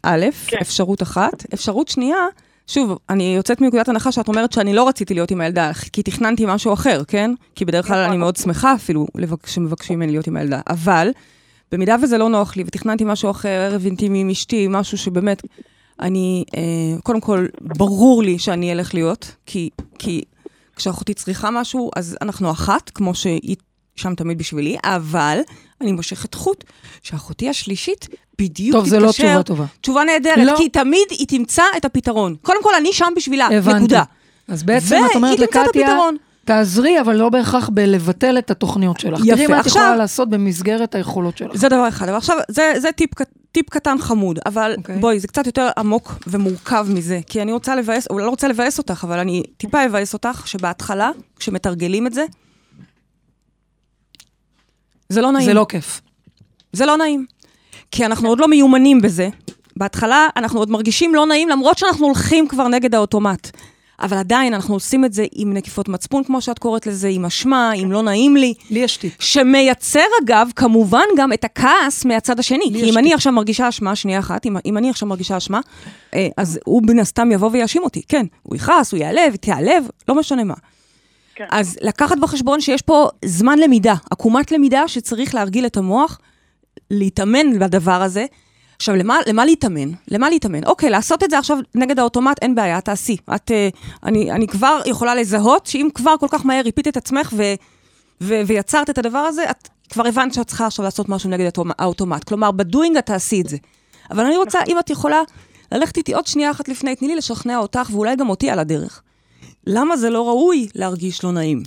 D: א',
B: כן.
D: אפשרות אחת. אפשרות שנייה, שוב, אני יוצאת מנקודת הנחה שאת אומרת שאני לא רציתי להיות עם הילדה, כי תכננתי משהו אחר, כן? כי בדרך כלל
B: נכון.
D: אני מאוד שמחה אפילו לבק- שמבקשים ממני להיות עם הילדה. אבל, במידה וזה לא נוח לי, ותכננתי משהו אחר, ערב אינטימי עם אשתי, משהו שבאמת, אני, אה, קודם כל, ברור לי שאני אלך להיות, כי, כי כשאחותי צריכה משהו, אז אנחנו אחת, כמו שהיא שם תמיד בשבילי, אבל אני מושכת חוט שאחותי השלישית בדיוק
C: טוב,
D: תתקשר.
C: זה לא תשובה טובה.
D: תשובה נהדרת,
C: לא.
D: לא. כי תמיד היא תמצא את הפתרון. קודם כל, אני שם בשבילה,
C: הבנתי.
D: נקודה.
C: אז בעצם את אומרת
D: והיא תמצא את
C: לקטיה,
D: הפתרון.
C: תעזרי, אבל לא בהכרח בלבטל את התוכניות שלך.
D: יפה,
C: תראי מה את
D: עכשיו-
C: יכולה לעשות במסגרת היכולות שלך.
D: זה דבר אחד. אבל עכשיו, זה, זה טיפ, ק- טיפ קטן חמוד, אבל
C: אוקיי.
D: okay. בואי, זה קצת יותר עמוק ומורכב מזה, כי אני רוצה לבאס, או לא רוצה לבאס אותך, אבל אני טיפה אבאס אותך, שבהתחלה, כשמתרגלים את זה, זה לא נעים.
C: זה לא כיף.
D: זה לא נעים. כי אנחנו עוד לא מיומנים בזה. בהתחלה אנחנו עוד מרגישים לא נעים, למרות שאנחנו הולכים כבר נגד האוטומט. אבל עדיין אנחנו עושים את זה עם נקיפות מצפון, כמו שאת קוראת לזה, עם אשמה, עם לא נעים לי.
C: לי יש טיפ.
D: שמייצר אגב, כמובן גם את הכעס מהצד השני.
C: לי
D: כי
C: יש
D: אם אני
C: טיפ.
D: עכשיו מרגישה אשמה, שנייה אחת, אם, אם אני עכשיו מרגישה אשמה, אה, אז הוא מן הסתם יבוא ויאשים אותי. כן, הוא יכעס, הוא ייעלב, תיעלב, לא משנה מה.
B: כן.
D: אז לקחת בחשבון שיש פה זמן למידה, עקומת למידה שצריך להרגיל את המוח, להתאמן בדבר הזה. עכשיו, למה, למה להתאמן? למה להתאמן? אוקיי, לעשות את זה עכשיו נגד האוטומט, אין בעיה, תעשי. את, אה, אני, אני כבר יכולה לזהות שאם כבר כל כך מהר ריפית את עצמך ו, ו, ויצרת את הדבר הזה, את כבר הבנת שאת צריכה עכשיו לעשות משהו נגד האוטומ- האוטומט. כלומר, בדואינג את תעשי את זה. אבל אני רוצה,
C: נכון.
D: אם את יכולה, ללכת איתי עוד שנייה אחת לפני, תני לי לשכנע אותך ואולי גם אותי על הדרך. למה זה לא ראוי להרגיש לא נעים?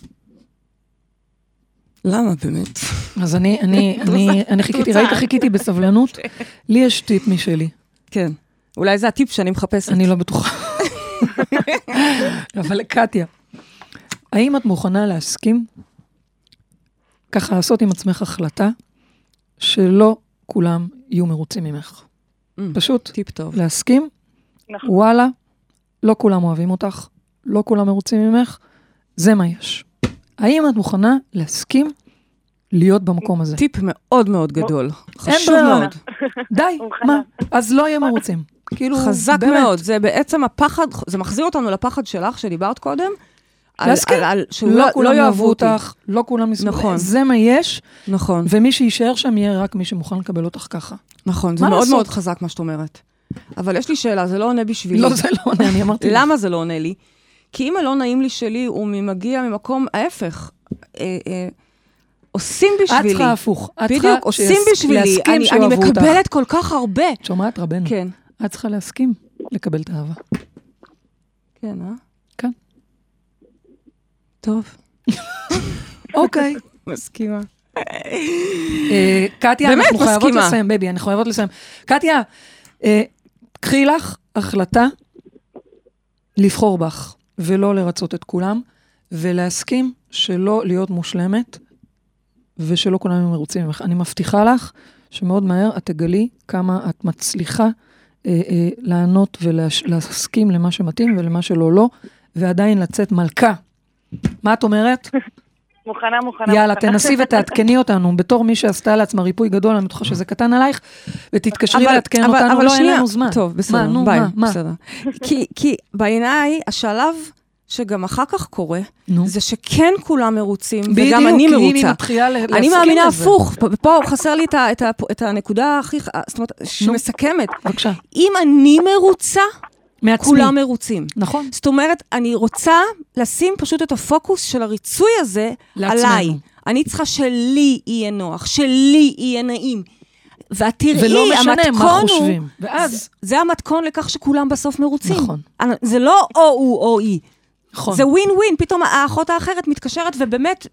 D: למה באמת?
C: אז אני, אני,
D: <laughs>
C: אני, אני חיכיתי,
D: רוצה?
C: ראית, חיכיתי
D: <laughs>
C: בסבלנות. לי יש טיפ משלי,
D: כן. אולי זה הטיפ שאני מחפשת.
C: אני לא בטוחה.
D: <laughs>
C: אבל קטיה, האם את מוכנה להסכים ככה לעשות עם עצמך החלטה שלא כולם יהיו מרוצים ממך?
D: Mm.
C: פשוט
D: טיפ טוב.
C: להסכים,
B: נכון.
C: וואלה, לא כולם אוהבים אותך, לא כולם מרוצים ממך, זה מה יש. האם את מוכנה להסכים להיות במקום
B: <laughs>
C: הזה?
D: טיפ מאוד מאוד גדול. חשוב
C: ברירה.
D: מאוד.
C: די,
B: מוכנה.
C: מה? אז לא יהיה
D: <laughs>
C: מרוצים. כאילו,
D: חזק
C: באמת.
D: מאוד. זה בעצם הפחד, זה מחזיר אותנו לפחד שלך, שדיברת קודם. על-
C: להסכים.
D: על- על- שהוא
C: לא כולם יאהבו
D: יאהבו אותי.
C: אותך, לא כולם יסבלו.
D: נכון.
C: זה מה יש,
D: נכון,
C: ומי שיישאר שם יהיה רק מי שמוכן לקבל אותך ככה.
D: נכון. זה
C: מה
D: מאוד
C: לעשות?
D: מאוד חזק מה שאת אומרת. אבל יש לי שאלה, זה לא עונה בשבילי.
C: לא, זה לא עונה, אני אמרתי.
D: למה זה לא עונה לי? כי אם הלא נעים לי שלי הוא מגיע ממקום ההפך. אה, אה, עושים
C: את
D: בשבילי.
C: צריכה הפוך. את צריכה
D: בדיוק, עושים
C: שיס-
D: בשבילי.
C: להסכים
D: אני, אני
C: שאוהבו אותך.
D: מקבלת כל כך הרבה.
C: את שומעת רבנו?
D: כן.
C: את צריכה להסכים לקבל את האהבה.
D: כן, אה?
C: כן.
D: טוב.
C: אוקיי.
D: מסכימה.
C: אה, קטיה,
D: באמת,
C: אנחנו חייבות
D: מסכימה.
C: לסיים, בבי, אנחנו חייבות לסיים. קטיה, אה, קחי לך החלטה לבחור בך, ולא לרצות את כולם, ולהסכים שלא להיות מושלמת, ושלא כולם יהיו מרוצים ממך. אני מבטיחה לך שמאוד מהר את תגלי כמה את מצליחה אה, אה, לענות ולהסכים למה שמתאים ולמה שלא לא, ועדיין לצאת מלכה. מה את אומרת?
B: מוכנה, מוכנה.
C: יאללה,
B: מוכנה.
C: תנסי
B: <laughs>
C: ותעדכני אותנו, בתור מי שעשתה לעצמה ריפוי גדול, אני בטוחה שזה קטן עלייך, ותתקשרי
D: אבל-
C: לעדכן
D: אבל-
C: אותנו,
D: אבל
C: לא, אין
D: שנייה.
C: לנו זמן.
D: טוב, בסדר,
C: מה, נו,
D: ביי,
C: מה, מה?
D: בסדר. כי, כי בעיניי, השלב שגם אחר כך קורה,
C: נו.
D: זה שכן כולם מרוצים,
C: בדיוק,
D: וגם אני
C: כי אם
D: מרוצה.
C: היא מתחילה ל-
D: אני
C: להסכים
D: מאמינה
C: לזה.
D: הפוך, פה- פה חסר לי את, ה, את, ה, את הנקודה הכי, ח- זאת אומרת, שמסכמת.
C: בבקשה.
D: אם אני מרוצה,
C: מעצמי.
D: כולם מרוצים.
C: נכון.
D: זאת אומרת, אני רוצה לשים פשוט את הפוקוס של הריצוי הזה
C: לעצמנו.
D: עליי. אני צריכה שלי יהיה נוח, שלי יהיה נעים. ואת תראי,
C: ולא משנה מה
D: המתכון הוא-
C: חושבים. ואז-
D: זה, זה המתכון לכך שכולם בסוף מרוצים.
C: נכון.
D: אני- זה לא או הוא או היא.
C: נכון.
D: זה ווין ווין, פתאום האחות האחרת מתקשרת ובאמת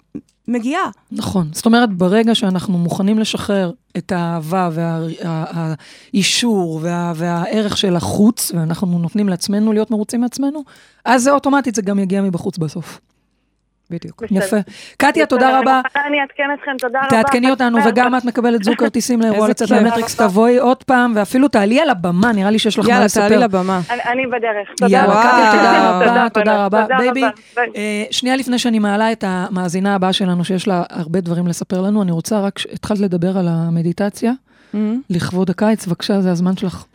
D: מגיעה.
C: נכון. זאת אומרת, ברגע שאנחנו מוכנים לשחרר את האהבה והאישור וה, והערך של החוץ, ואנחנו נותנים לעצמנו להיות מרוצים מעצמנו, אז זה אוטומטית, זה גם יגיע מבחוץ בסוף. בדיוק.
B: בסדר.
C: יפה. קטיה,
B: בסדר,
C: תודה רבה.
B: אני אעדכן אתכם, תודה רבה.
C: תעדכני אותנו,
B: חג שמח.
C: וגם את מקבלת זוג כרטיסים לאירוע
D: איזה
C: לצאת
D: כיף.
C: למטריקס, תבואי עוד פעם, ואפילו תעלי על הבמה, נראה לי שיש לך מה
D: יאללה,
C: לספר.
D: תעלי לבמה.
B: אני- אני בדרך. תודה
C: יאללה,
B: רבה.
C: קטיה,
B: <laughs>
C: תודה
D: וואו.
C: רבה, תודה רבה.
B: תודה
C: בייבי,
B: ביי.
C: אה, שנייה לפני שאני מעלה את המאזינה הבאה שלנו, שיש לה הרבה דברים לספר לנו, אני רוצה רק, ש- התחלת לדבר על המדיטציה,
D: Mm-hmm.
C: לכבוד הקיץ, בבקשה, זה הזמן שלך.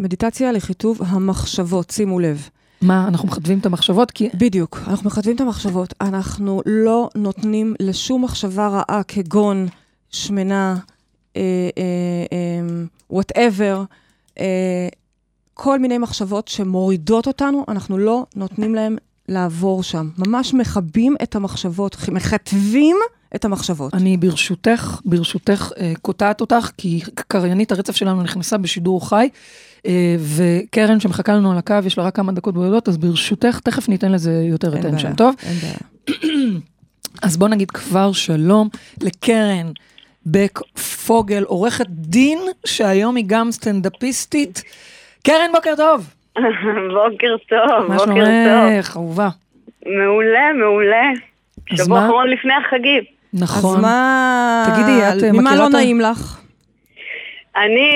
D: מדיטציה לחיטוב המחשבות, שימו לב.
C: מה, אנחנו מכתבים את המחשבות? כי
D: בדיוק, אנחנו מכתבים את המחשבות. אנחנו לא נותנים לשום מחשבה רעה כגון שמנה, אה, וואטאבר, אה, כל מיני מחשבות שמורידות אותנו, אנחנו לא נותנים להם לעבור שם. ממש מכבים את המחשבות, מכתבים את המחשבות.
C: אני ברשותך, ברשותך, אה, קוטעת אותך, כי קריינית הרצף שלנו נכנסה בשידור חי, אה, וקרן שמחכה לנו על הקו, יש לה רק כמה דקות בודדות, אז ברשותך, תכף ניתן לזה יותר
D: אין בעיה,
C: attention, טוב?
D: אין בעיה.
C: אז בוא נגיד כבר שלום לקרן בק פוגל, עורכת דין, שהיום היא גם סטנדאפיסטית. קרן, בוקר טוב.
B: <laughs> בוקר טוב,
C: מה
B: בוקר טוב.
C: שלומך, אהובה.
B: מעולה, מעולה.
C: אז
B: שבוע
C: מה?
B: אחרון לפני החגים.
C: נכון.
D: אז מה...
C: תגידי, את, אה,
D: ממה
C: מכירה
D: לא
C: את ה-
D: נעים לך?
B: אני,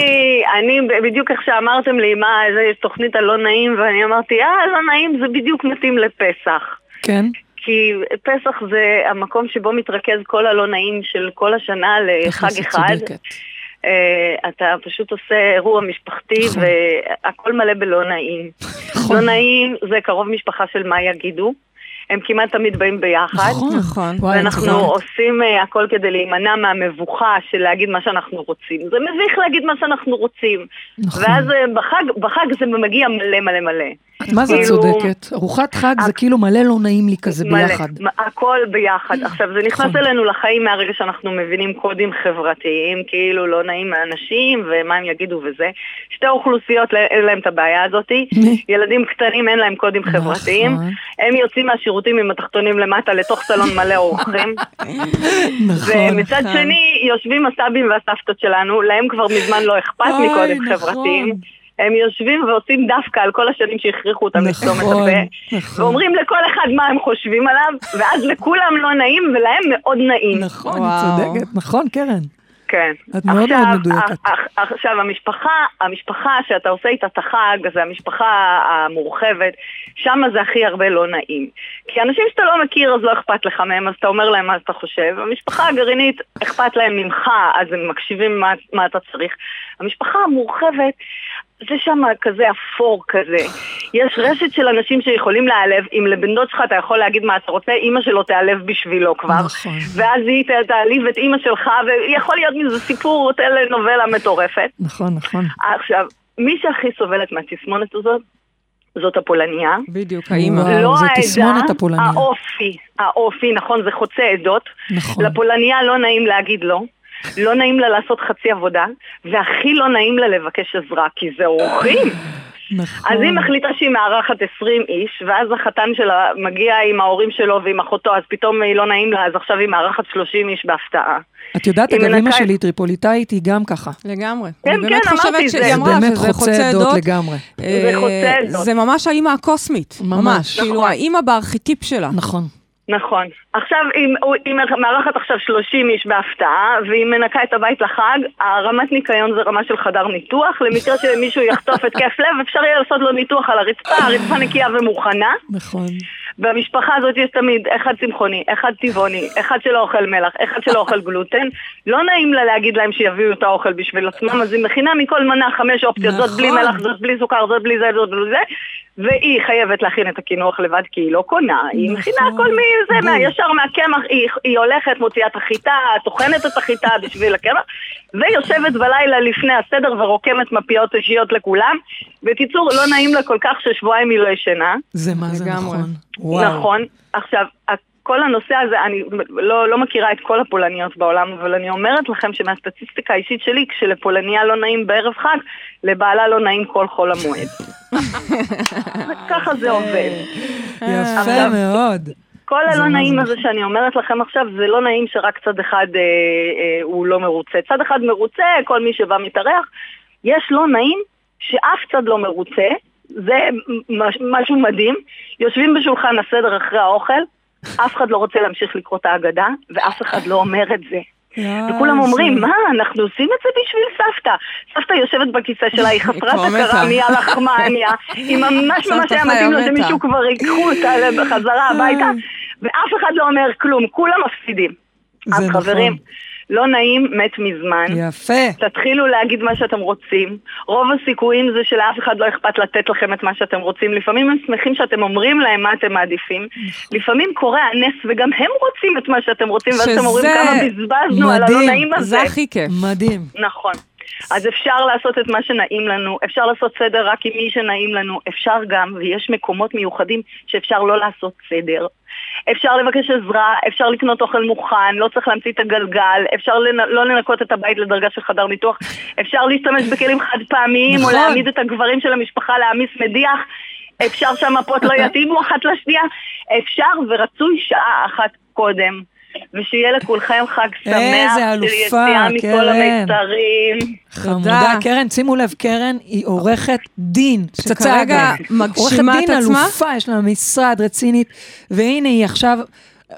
B: אני, בדיוק איך שאמרתם לי, מה, איזה יש תוכנית הלא נעים, ואני אמרתי, אה, לא נעים, זה בדיוק מתאים לפסח.
C: כן,
B: כי פסח זה המקום שבו מתרכז כל הלא נעים של כל השנה
C: תכלס,
B: לחג
C: את
B: אחד.
C: צודקת.
B: אה, אתה פשוט עושה אירוע משפחתי,
C: נכון.
B: והכל מלא בלא נעים.
C: נכון.
B: לא נעים זה קרוב משפחה של מה יגידו. הם כמעט תמיד באים ביחד.
C: נכון.
D: נכון.
C: וואי, את
B: ואנחנו
C: צודקת.
B: עושים אה, הכל כדי להימנע מהמבוכה של להגיד מה שאנחנו רוצים. זה מביך להגיד מה שאנחנו רוצים.
C: נכון.
B: ואז אה, בחג, בחג זה מגיע מלא מלא מלא.
C: את מה זה
B: כאילו-
C: צודקת? ארוחת חג זה כאילו מלא לא נעים לי כזה ביחד.
B: מלא, מ- הכל ביחד. עכשיו, זה נכנס
C: נכון.
B: אלינו לחיים מהרגע שאנחנו מבינים קודים חברתיים, כאילו לא נעים מאנשים ומה הם יגידו וזה. שתי אוכלוסיות, לא- אין להם את הבעיה הזאת. ילדים קטנים, אין להם קודים חברתיים.
C: נכון.
B: הם יוצאים מהשירותים עם התחתונים למטה לתוך סלון מלא אורחים.
C: <laughs> נכון.
B: ומצד
D: נכון.
B: שני, יושבים הסבים והסבתות שלנו, להם כבר מזמן לא אכפת
C: אוי,
B: מקודים
C: נכון.
B: חברתיים. הם יושבים ועושים דווקא על כל השנים שהכריחו אותם לסתום את
C: נכון,
B: הפה.
C: נכון.
B: ואומרים לכל אחד מה הם חושבים עליו, ואז לכולם לא נעים ולהם מאוד נעים.
C: נכון, את
D: וואו.
C: צודקת. נכון, קרן.
B: כן.
C: את מאוד
B: עכשיו-
C: מאוד מדויקת.
B: אח- אח- עכשיו, המשפחה, המשפחה שאתה עושה איתה את החג, זה המשפחה המורחבת, שם זה הכי הרבה לא נעים. כי אנשים שאתה לא מכיר, אז לא אכפת לך מהם, אז אתה אומר להם מה שאתה חושב. המשפחה הגרעינית, אכפת להם ממך, אז הם מקשיבים מה, מה אתה צריך. המשפחה המורחבת, זה שם כזה אפור כזה. יש רשת של אנשים שיכולים להיעלב, אם לבן דוד שלך אתה יכול להגיד מה אתה רוצה, אימא שלו תיעלב בשבילו כבר.
C: נכון.
B: ואז היא ת- תעליב את אימא שלך, ויכול להיות מזה סיפור טלנובלה מטורפת.
C: נכון, נכון.
B: עכשיו, מי שהכי סובלת מהתסמונת הזאת, זאת הפולניה.
C: בדיוק,
D: האמא.
C: האמא,
B: לא
C: זה
B: העדה,
C: תסמונת הפולניה.
B: האופי, האופי, נכון, זה חוצה עדות.
C: נכון.
B: לפולניה לא נעים להגיד לא. לא נעים לה לעשות חצי עבודה, והכי לא נעים לה לבקש עזרה, כי זה אורחים.
C: נכון.
B: אז היא מחליטה שהיא מארחת 20 איש, ואז החתן שלה מגיע עם ההורים שלו ועם אחותו, אז פתאום היא לא נעים לה, אז עכשיו היא מארחת 30 איש בהפתעה.
C: את יודעת,
B: היא
C: אגב,
B: מנקה
C: אמא
B: את-
C: שלי היא טריפוליטאית, היא גם ככה.
D: לגמרי.
B: כן,
D: אני באמת
B: כן, אמרתי
D: חושבת
B: את זה.
D: שהיא
B: זה
D: אמרה
C: באמת
D: שזה חוצה עדות.
C: לגמרי.
B: זה
D: אה,
B: חוצה עדות.
D: זה ממש האימא הקוסמית.
C: ממש.
D: ממש. כאילו,
B: נכון.
D: האימא בארכיטיפ שלה.
C: נכון.
B: נכון. עכשיו, אם- הוא- היא מארחת עכשיו 30 איש בהפתעה, והיא מנקה את הבית לחג, הרמת ניקיון זה רמה של חדר ניתוח, למקרה שמישהו יחטוף התקף לב, אפשר יהיה לעשות לו ניתוח על הרצפה, הרצפה נקייה ומוכנה.
C: נכון.
B: במשפחה הזאת יש תמיד אחד צמחוני, אחד טבעוני, אחד שלא אוכל מלח, אחד שלא אוכל גלוטן. לא נעים לה להגיד להם שיביאו את האוכל בשביל עצמם, אז היא מכינה מכל מנה חמש אופציות, זאת בלי
D: נכון.
B: מלח, זאת בלי סוכר, זאת בלי זה, זאת בלי זה. והיא חייבת להכין את הקינוח לבד כי היא לא קונה, היא
C: נכון.
B: מכינה הכל מזה, מה- ישר מהקמח, היא- היא הולכת, מוציאה את החיטה, טוחנת את החיטה <laughs> בשביל הקמח, ויושבת בלילה לפני הסדר ורוקמת מפיות אישיות לכולם. בקיצור, לא נעים לה כל כך ששבועיים היא לא ישנה.
C: זה מה זה
D: לגמרי.
C: נכון.
B: וואו. נכון. עכשיו, כל הנושא הזה, אני לא, לא מכירה את כל הפולניות בעולם, אבל אני אומרת לכם שמהסטטיסטיקה האישית שלי, כשלפולניה לא נעים בערב חג, לבעלה לא נעים כל חול המועד. וככה זה עובד.
C: יפה
B: עכשיו-
C: מאוד.
B: כל
C: זה
B: הלא
C: מה
B: נעים
C: זה נכון.
B: הזה שאני אומרת לכם עכשיו, זה לא נעים שרק צד אחד אה, אה, הוא לא מרוצה. צד אחד מרוצה, כל מי שבא מתארח. יש לא נעים שאף צד לא מרוצה, זה מש- משהו מדהים. יושבים בשולחן הסדר אחרי האוכל, אף אחד לא רוצה להמשיך לקרוא את ההגדה, ואף אחד לא אומר את זה.
D: אה,
B: וכולם אומרים, מה, אנחנו עושים את זה בשביל סבתא. סבתא יושבת בכיסא שלה, היא חסרת
D: כבר מתה.
B: הכרה מהלחמניה, היא ממש ממש
D: סבתא חיה,
B: היה מתאים
D: מתה.
B: לה
D: אה.
B: שמישהו כבר ייקחו אותה בחזרה הביתה, ואף אחד לא אומר כלום, כולם מפסידים.
C: זה
B: אז
C: נכון.
B: חברים, לא נעים, מת מזמן.
C: יפה.
B: תתחילו להגיד מה שאתם רוצים. רוב הסיכויים זה שלאף אחד לא אכפת לתת לכם את מה שאתם רוצים. לפעמים הם שמחים שאתם אומרים להם מה אתם מעדיפים.
D: נכון.
B: לפעמים קורה הנס וגם הם רוצים את מה שאתם רוצים, ואז אתם אומרים
D: שזה
B: כמה בזבזנו על הלא
C: מדהים.
B: לא נעים הזה.
D: זה הכי
B: כן.
D: כיף.
C: מדהים.
B: נכון. אז אפשר לעשות את מה שנעים לנו, אפשר לעשות סדר רק עם מי שנעים לנו, אפשר גם, ויש מקומות מיוחדים שאפשר לא לעשות סדר. אפשר לבקש עזרה, אפשר לקנות אוכל מוכן, לא צריך להמציא את הגלגל, אפשר לנ... לא לנקות את הבית לדרגה של חדר ניתוח, אפשר להשתמש בכלים חד פעמיים,
C: נכון.
B: או להעמיד את הגברים של המשפחה להעמיס מדיח, אפשר שהמפות לא יתאימו אחת לשנייה, אפשר ורצוי שעה אחת קודם. ושיהיה לכולכם חג שמח,
C: איזה
B: של
C: אלופה, כן,
B: יציאה מכל
C: קרן.
B: המיצרים.
C: חמודה. קרן, שימו לב, קרן היא עורכת דין. פצצה
D: שכרגע
C: אגב.
D: מגשימה את
C: עורכת דין
D: עצמה.
C: אלופה, יש לה משרד רצינית. והנה היא עכשיו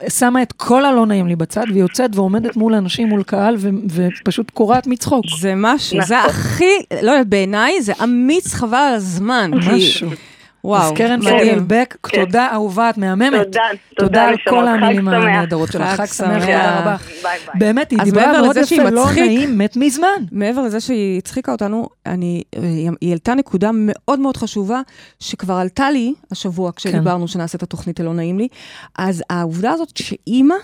C: שמה את כל הלא נעים לי בצד, והיא יוצאת ועומדת מול אנשים, מול קהל, ו- ופשוט קורעת מצחוק.
D: זה משהו, זה
B: נכון.
D: הכי, לא יודעת, בעיניי זה אמיץ חבל על הזמן. כי-
C: משהו.
D: וואו,
C: אז קרן
D: מדהים.
C: פריאל בק,
B: כן.
C: תודה אהובה, את מהממת.
B: תודה, תודה,
C: על
B: נשמות.
C: כל
B: חג
C: המילים
B: שמח.
C: הנהדרות שלך.
D: חג
C: חג
D: שמח.
C: שמח, תודה רבה.
B: ביי ביי.
C: באמת, היא
D: אז
C: דיברה
D: מעבר
C: מאוד
D: לזה שהיא
C: יפה, לא
D: מצחיק-
C: נעים, מת מזמן.
D: מעבר לזה שהיא הצחיקה אותנו, אני, היא היא העלתה נקודה מאוד מאוד חשובה, שכבר עלתה לי השבוע כשדיברנו כן. שנעשה את התוכנית הלא נעים לי. אז העובדה הזאת שאימא,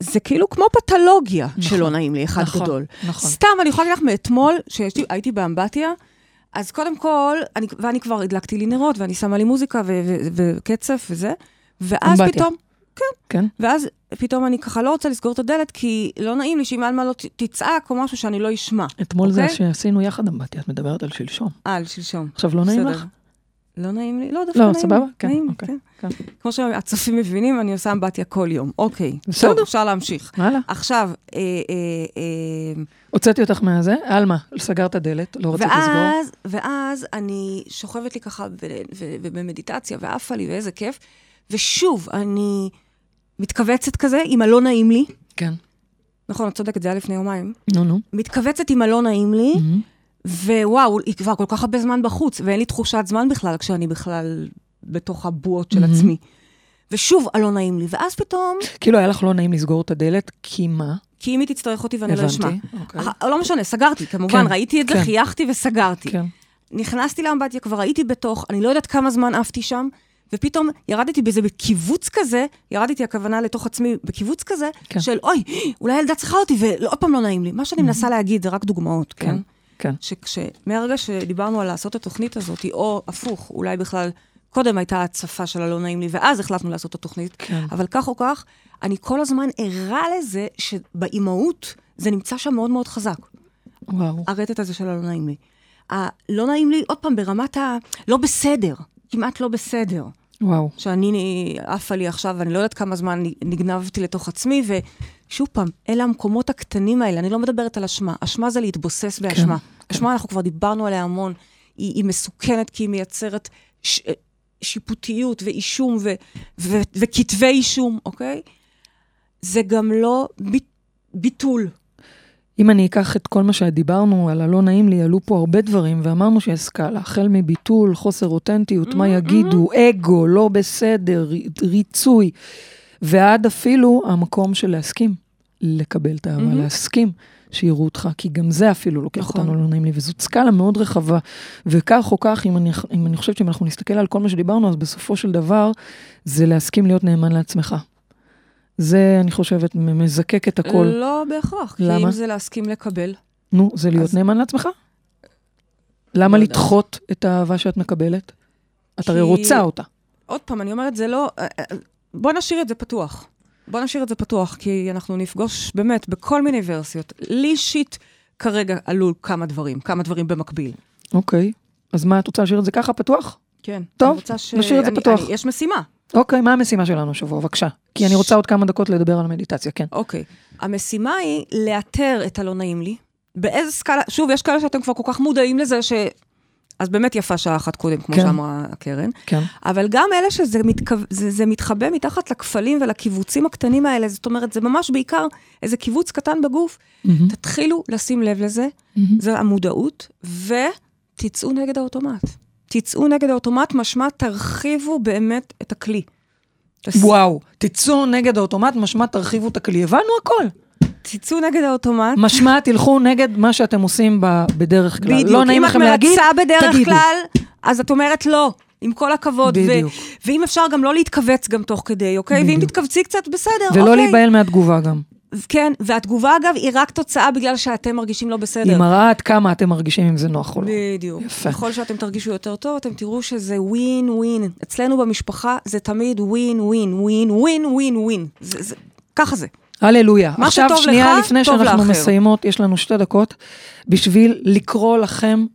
D: זה כאילו כמו פתולוגיה נכון, שלא נעים לי, אחד
C: נכון,
D: גדול.
C: נכון.
D: סתם, אני יכולה להגיד לך מאתמול, שהייתי באמבטיה, אז קודם כל, אני, ואני כבר הדלקתי לי נרות, ואני שמה לי מוזיקה ו- ו- וקצף וזה, ואז
C: אמבטיה.
D: פתאום...
C: כן.
D: ואז פתאום אני ככה לא רוצה לסגור את הדלת, כי לא נעים לי שאם אלמה לא ת- תצעק או משהו שאני לא אשמע.
C: אתמול זה
D: אוקיי?
C: שעשינו יחד אמבטיה, את מדברת על שלשום.
D: אה, על שלשום.
C: עכשיו, לא נעים
D: בסדר.
C: לך?
D: לא נעים לי, לא, דווקא
C: לא,
D: נעים לי.
C: סבבה? כן,
D: נעים לי,
C: אוקיי,
D: כן.
C: כן.
D: כמו שהצופים מבינים, אני עושה אמבטיה כל יום. אוקיי.
C: בסדר.
D: טוב, אפשר להמשיך.
C: הלאה.
D: עכשיו, אה, אה, אה,
C: הוצאתי אותך מהזה, עלמה, סגרת הדלת, לא רצית לסגור.
D: ואז, ואז אני שוכבת לי ככה ב- ו- ובמדיטציה, ועפה לי, ואיזה כיף. ושוב, אני מתכווצת כזה עם הלא נעים לי.
C: כן.
D: נכון, את צודקת, זה היה לפני יומיים.
C: נו, נו.
D: מתכווצת עם הלא נעים לי,
C: מהמם.
D: ווואו, היא כבר כל כך הרבה זמן בחוץ, ואין לי תחושת זמן בכלל כשאני בכלל בתוך הבועות של
C: מהמם.
D: עצמי. ושוב, הלא נעים לי, ואז פתאום,
C: כאילו, היה לך לא נעים לסגור את הדלת, כי מה?
D: כי אם היא תצטרך אותי ואני לא אשמע.
C: הבנתי. אוקיי.
D: אח- לא משנה, סגרתי, כמובן,
C: כן,
D: ראיתי את זה,
C: כן.
D: חייכתי וסגרתי.
C: כן.
D: נכנסתי לאמבטיה, כבר הייתי בתוך, אני לא יודעת כמה זמן עפתי שם, ופתאום ירדתי באיזה בקיבוץ כזה, ירדתי הכוונה לתוך עצמי בקיבוץ כזה,
C: כן.
D: של אוי, אולי הילדה צריכה אותי, ועוד פעם לא נעים לי. מה שאני מנסה להגיד זה רק דוגמאות, כן?
C: כן. כן.
D: שמהרגע שדיברנו על לעשות את התוכנית הזאת, או הפוך, אולי בכלל קודם הייתה הצפה של הלא נעים לי, ואז החלטנו לעשות את התוכנית,
C: כן.
D: אבל כך או כך, אני כל הזמן ערה לזה שבאימהות זה נמצא שם מאוד מאוד חזק.
C: וואו.
D: הרטט הזה של הלא נעים לי. הלא נעים לי, עוד פעם, ברמת ה... לא בסדר, כמעט לא בסדר.
C: וואו.
D: שאני עפה לי עכשיו, ואני לא יודעת כמה זמן נגנבתי לתוך עצמי, ושוב פעם, אלה המקומות הקטנים האלה, אני לא מדברת על אשמה. אשמה זה להתבוסס באשמה.
C: כן.
D: אשמה, אנחנו כבר דיברנו עליה המון, היא, היא מסוכנת כי היא מייצרת ש, אה, שיפוטיות ואישום ו, ו, וכתבי אישום, אוקיי? זה גם לא ביט, ביטול.
C: אם אני אקח את כל מה שדיברנו על הלא נעים לי, עלו פה הרבה דברים, ואמרנו שיש סקאלה, החל מביטול, חוסר אותנטיות,
D: Mm-hmm.
C: מה יגידו, אגו, לא בסדר, ר- ריצוי, ועד אפילו המקום של להסכים, לקבל את האהבה, להסכים. שיראו אותך, כי גם זה אפילו לוקח
D: Mm-hmm. נכון.
C: אותנו לא נעים לי, וזאת סקאלה מאוד רחבה. וכך או כך, אם אני, אם אני חושבת שאם אנחנו נסתכל על כל מה שדיברנו, אז בסופו של דבר, זה להסכים להיות נאמן לעצמך. זה, אני חושבת, מ- מזקק את הכל.
D: לא בהכרח. כי
C: למה?
D: אם זה להסכים לקבל.
C: נו, זה להיות
D: אז-
C: נאמן לעצמך? למה
D: לא יודעת.
C: לדחות את האהבה שאת מקבלת? את
D: כי-
C: הרי רוצה אותה.
D: עוד פעם, אני אומרת, זה לא... בוא נשאיר את זה פתוח. בוא נשאיר את זה פתוח, כי אנחנו נפגוש באמת בכל מיני ורסיות. לי אישית כרגע עלו כמה דברים, כמה דברים במקביל.
C: אוקיי. אז מה, את רוצה להשאיר את זה ככה פתוח?
D: כן.
C: טוב,
D: אני רוצה ש...
C: נשאיר את זה
D: אני-
C: פתוח.
D: אני, יש משימה.
C: אוקיי, מה המשימה שלנו השבוע? בבקשה. כי אני רוצה עוד כמה דקות לדבר על מדיטציה, כן.
D: אוקיי. המשימה היא לאתר את הלא נעים לי. באיזה סקאלה, שוב, יש כאלה שאתם כבר כל כך מודעים לזה ש... אז באמת יפה שעה אחת קודם, כמו
C: כן.
D: שאמרה קרן.
C: כן.
D: אבל גם אלה שזה מתכו... זה, זה מתחבא מתחת לכפלים ולקיבוצים הקטנים האלה, זאת אומרת, זה ממש בעיקר איזה קיבוץ קטן בגוף.
C: מהמם.
D: תתחילו לשים לב לזה,
C: מהמם.
D: זה המודעות, ותצאו נגד האוטומט. תצאו נגד האוטומט, משמע תרחיבו באמת את הכלי. תס-
C: וואו, תצאו נגד האוטומט, משמע תרחיבו את הכלי. הבנו הכל.
D: תצאו נגד האוטומט.
C: משמע תלכו נגד מה שאתם עושים ב- בדרך כלל.
D: בדיוק.
C: לא נעים לכם להגיד,
D: אם את מרצה בדרך
C: תגידו.
D: כלל, אז את אומרת לא. עם כל הכבוד, ו-
C: בדיוק.
D: ואם אפשר גם לא להתכווץ גם תוך כדי, אוקיי? ואם
C: בדיוק.
D: תתכווצי קצת, בסדר,
C: ולא
D: אוקיי.
C: להיבהל מהתגובה גם.
D: כן, והתגובה אגב, היא רק תוצאה בגלל שאתם מרגישים לא בסדר.
C: היא מראה עד כמה אתם מרגישים אם זה נוח או לא.
D: בדיוק.
C: יפה.
D: יפה. ככל שאתם תרגישו יותר טוב, אתם תראו שזה ווין ווין. אצלנו במשפחה זה תמיד ווין ווין ווין ווין ווין ווין. זה- זה- ככה זה.
C: הללויה.
D: מה
C: עכשיו,
D: שטוב
C: שנייה
D: לך,
C: לפני
D: טוב
C: שאנחנו
D: לאחר.
C: מסיימות, יש לנו שתי דקות, בשביל לקרוא לכם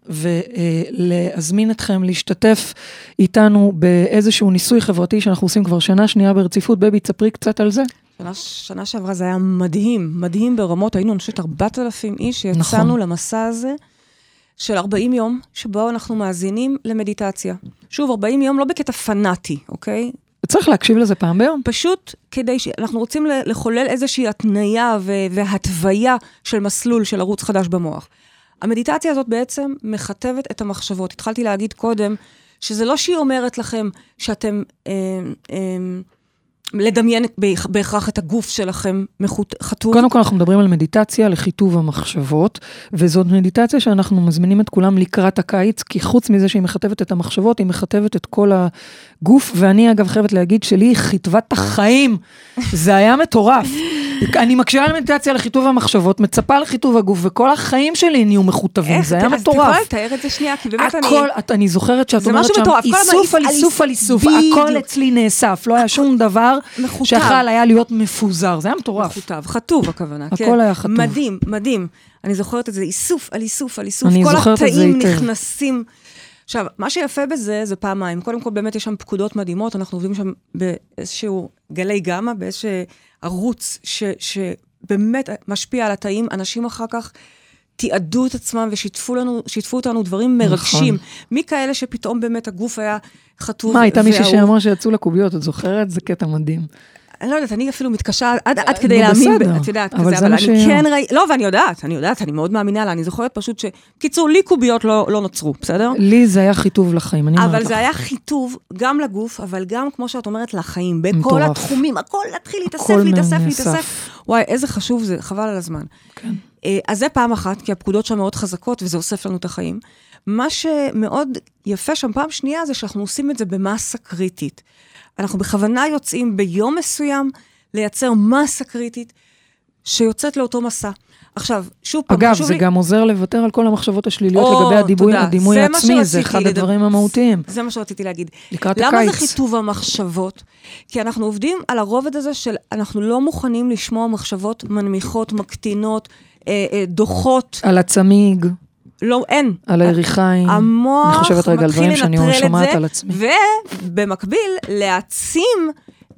C: ולהזמין אתכם להשתתף איתנו באיזשהו ניסוי חברתי שאנחנו עושים כבר שנה שנייה ברציפות. בבי, תספרי קצת על זה.
D: שנה, שנה שעברה זה היה מדהים, מדהים ברמות. היינו, אני חושבת, 4,000 איש שיצאנו
C: נכון.
D: למסע הזה של 40 יום, שבו אנחנו מאזינים למדיטציה. שוב, 40 יום לא בקטע פנאטי, אוקיי?
C: צריך להקשיב לזה פעם ביום.
D: פשוט כדי ש... אנחנו רוצים ל- לחולל איזושהי התניה ו... והתוויה של מסלול של ערוץ חדש במוח. המדיטציה הזאת בעצם מכתבת את המחשבות. התחלתי להגיד קודם, שזה לא שהיא אומרת לכם שאתם... אה, אה, לדמיין את- בהכ- בהכרח את הגוף שלכם מחוט- חטוף.
C: קודם כל אנחנו מדברים על מדיטציה לחיטוב המחשבות, וזאת מדיטציה שאנחנו מזמינים את כולם לקראת הקיץ, כי חוץ מזה שהיא מכתבת את המחשבות, היא מכתבת את כל הגוף, ואני אגב חייבת להגיד שלי היא חיטבה את
D: <laughs>
C: החיים, זה היה מטורף. אני מקשיבה למדיטציה לחיטוב המחשבות, מצפה לחיטוב הגוף, וכל החיים שלי נהיו מכותבים, זה היה
D: אז את יכולה
C: מטורף.
D: לתאר את זה שנייה, כי באמת אני...
C: הכל, את, אני זוכרת שאת
D: זה
C: אומרת
D: משהו
C: שם,
D: מטורף, כל הזמן
C: איסוף על
D: איס-
C: איסוף על איסוף,
D: בדיוק.
C: הכל אצלי נאסף, לא היה שום דבר
D: מכותב.
C: שיכל היה להיות מפוזר, זה היה מטורף.
D: מכותב, חטוב הכוונה, כן.
C: הכל היה חטוב.
D: מדהים, מדהים. אני זוכרת את זה איסוף על איסוף על איסוף.
C: אני זוכרת את זה
D: כל
C: היטב.
D: התאים נכנסים. עכשיו, מה שיפה בזה, זה פעמיים. קודם כל, באמת יש שם פקודות מדהימות, אנחנו עובדים שם באיזשהו גלי גמא, באיזשהו ערוץ ש, שבאמת משפיע על התאים. אנשים אחר כך תיעדו את עצמם ושיתפו לנו, שיתפו אותנו דברים מרגשים.
C: נכון.
D: מכאלה שפתאום באמת הגוף היה חטוב.
C: מה, הייתה מישהי
D: והאהוב.
C: שאמרה שיצאו לה קוביות, את זוכרת? זה קטע מדהים.
D: אני לא יודעת, אני אפילו מתקשה עד, עד כדי
C: אה, נו,
D: להאמין, ב-
C: בסדר.
D: את יודעת,
C: אבל
D: כזה,
C: זה
D: אבל
C: מה
D: אני
C: שהיה.
D: כן ראיתי, לא, ואני יודעת, אני יודעת, אני מאוד מאמינה לה, אני זוכרת פשוט ש... קיצור, לי קוביות לא, לא נוצרו, בסדר?
C: לי זה היה חיטוב לחיים, אני אומרת
D: אבל
C: לך.
D: זה היה חיטוב גם לגוף, אבל גם, כמו שאת אומרת, לחיים, בכל
C: מטורף.
D: התחומים, הכל להתחיל להתאסף,
C: הכל
D: להתאסף,
C: נאסף.
D: להתאסף. וואי, איזה חשוב זה, חבל על הזמן.
C: כן.
D: אה, אז זה פעם אחת, כי הפקודות שם מאוד חזקות, וזה אוסף לנו את החיים. מה שמאוד יפה שם פעם שנייה, זה שאנחנו עושים את זה במאסה קריטית. אנחנו בכוונה יוצאים ביום מסוים לייצר מסה קריטית, שיוצאת לאותו מסע. עכשיו, שוב פעם,
C: אגב,
D: חשוב
C: זה
D: לי...
C: גם עוזר לוותר על כל המחשבות השליליות
D: או,
C: לגבי הדימוי,
D: תודה.
C: הדימוי
D: זה מה
C: העצמי, זה
D: שרציתי
C: אחד
D: לדבר-
C: הדברים המהותיים.
D: זה מה שרציתי להגיד.
C: לקראת
D: למה
C: הקיץ.
D: זה חיטוב המחשבות? כי אנחנו עובדים על הרובד הזה של אנחנו לא מוכנים לשמוע מחשבות מנמיכות, מקטינות, אה, אה, דוחות.
C: על הצמיג,
D: לא, אין.
C: על היריחיים.
D: המוח
C: אני חושבת רגע על
D: מתחיל
C: דברים שאני
D: לנטרל את
C: שומעת
D: זה,
C: על עצמי.
D: ובמקביל, להעצים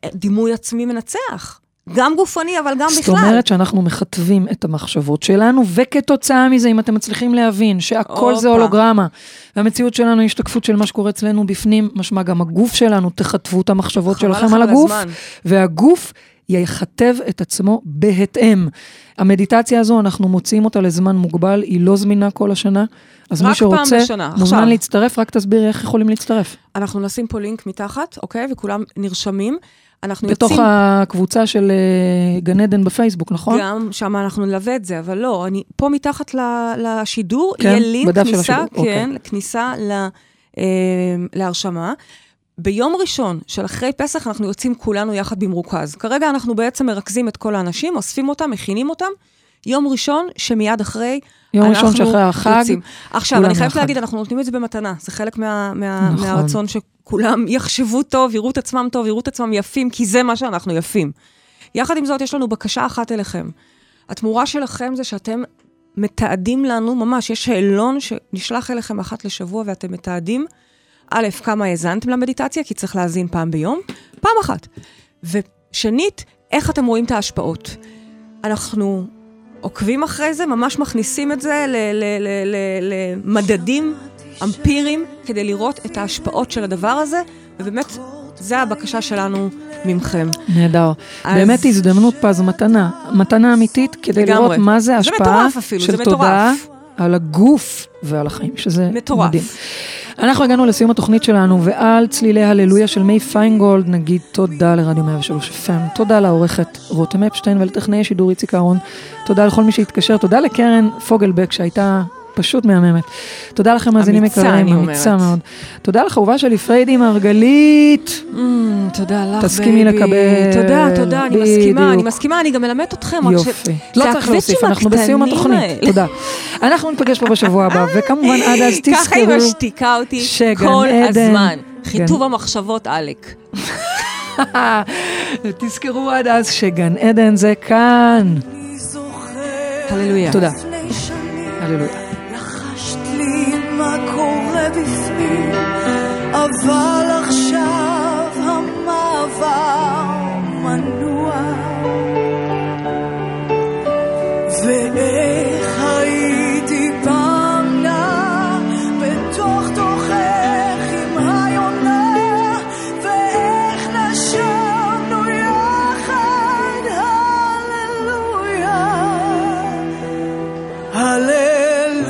D: אה, דימוי עצמי מנצח. גם גופני, אבל גם
C: זאת
D: בכלל.
C: אומרת שאנחנו מכתבים את המחשבות שלנו, וכתוצאה מזה, אם אתם מצליחים להבין שהכל זה
D: הופה.
C: הולוגרמה, והמציאות שלנו היא השתקפות של מה שקורה אצלנו בפנים, משמע גם הגוף שלנו, תכתבו את המחשבות
D: חבל
C: שלכם
D: לכם
C: על
D: נכון, לא על
C: הגוף,
D: הזמן.
C: והגוף יכתב את עצמו בהתאם. המדיטציה הזו, אנחנו מוציאים אותה לזמן מוגבל, היא לא זמינה כל השנה, אז
D: רק
C: מי
D: פעם
C: שרוצה,
D: בשנה, עכשיו.
C: מוזמן להצטרף, רק תסבירי איך יכולים להצטרף.
D: אנחנו נשים פה לינק מתחת, אוקיי? וכולם נרשמים. אנחנו
C: בתוך
D: יוצאים...
C: הקבוצה של אה, גן עדן בפייסבוק, נכון?
D: גם שם אנחנו נלווה את זה, אבל לא, אני פה מתחת ל- לשידור,
C: כן,
D: יהיה לינק
C: בדף של
D: כניסה,
C: השידור,
D: כן,
C: אוקיי.
D: כניסה ל, אה, להרשמה. ביום ראשון של אחרי פסח אנחנו יוצאים כולנו יחד במרוכז. כרגע אנחנו בעצם מרכזים את כל האנשים, אוספים אותם, מכינים אותם. יום ראשון שמיד אחרי,
C: יום ראשון
D: אנחנו
C: שאחרי החג,
D: יוצאים. עכשיו,
C: כולם
D: אני חייבת
C: יחד.
D: להגיד, אנחנו נותנים את זה במתנה. זה חלק מה, מה,
C: נכון.
D: מהרצון שכולם יחשבו טוב, יראו את עצמם טוב, יראו את עצמם יפים, כי זה מה שאנחנו יפים. יחד עם זאת, יש לנו בקשה אחת אליכם. התמורה שלכם זה שאתם מתעדים לנו, ממש, יש שאלון שנשלח אליכם אחת לשבוע ואתם מתעדים, א', כמה האזנתם למדיטציה, כי צריך להאזין פעם ביום, פעם אחת. ושנית, איך אתם רואים את ההשפעות. אנחנו עוקבים אחרי זה, ממש מכניסים את זה ל- ל- ל- ל- למדדים אמפיריים, כדי לראות את ההשפעות של הדבר הזה, ובאמת, זו הבקשה שלנו ממכם.
C: נהדר.
D: אז-
C: באמת הזדמנות פז, מתנה. מתנה אמיתית כדי
D: לגמרי.
C: לראות מה זה
D: זה
C: השפעה
D: מטורף אפילו,
C: של
D: זה מטורף.
C: תודעה על הגוף ועל החיים, שזה
D: מטורף.
C: מדהים. אנחנו הגענו לסיום התוכנית שלנו, ועל צלילי הללויה של מי פיינגולד נגיד תודה לרדיו 103 FM, תודה לעורכת רותם אפשטיין ולטכנאי השידור איציק אהרון, תודה לכל מי שהתקשר, תודה לקרן פוגלבק שהייתה... פשוט מהממת. תודה לכם, מאזינים
D: אמיצה, אני
C: יקרים,
D: אומרת.
C: אמיצה מאוד. תודה לחאובה שלי, פריידי מרגלית.
D: Mm, תודה לך, בייבי.
C: תסכימי לקבל.
D: תודה, תודה, אני מסכימה, אני
C: בדיוק.
D: מסכימה, אני גם מלמדת אתכם. רק ש-
C: יופי.
D: זה
C: לא צריך להוסיף,
D: הקוויצ'ים
C: אנחנו בסיום
D: הקטנים
C: התוכנית.
D: <laughs> האלה.
C: תודה. אנחנו ניפגש פה בשבוע הבא, <laughs> וכמובן עד אז
D: ככה היא
C: תזכרו,
D: משתיקה אותי
C: שגן
D: כל
C: עדן- כן.
D: הזמן.
C: גן-
D: חיטוב המחשבות, עלק.
C: <laughs> תזכרו עד אז שגן עדן זה כאן.
D: הללויה.
C: תודה.
E: לפני שנים
C: הללויה.
E: לחשת לי מה קורה בפנים, אבל עכשיו המעבר מנוע. ואיך הייתי פעם נע בתוך תוכך עם היונה, ואיך נשמנו יחד, הללויה. Hallelujah,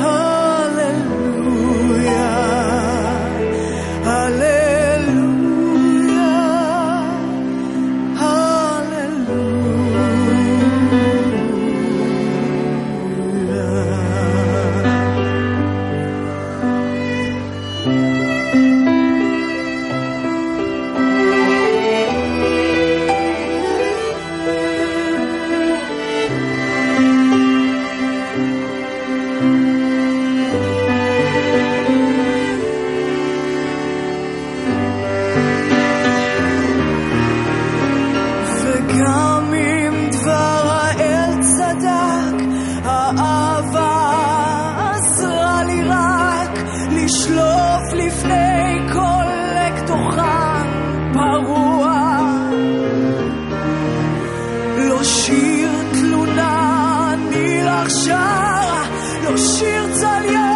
E: hallelujah, hallelujah, hallelujah. וגם אם דבר האל צדק, האהבה עזרה לי רק לשלוף לפני קולקטוחן פרוע. לא שיר תלונה, אני לך שרה, לא שיר צליין.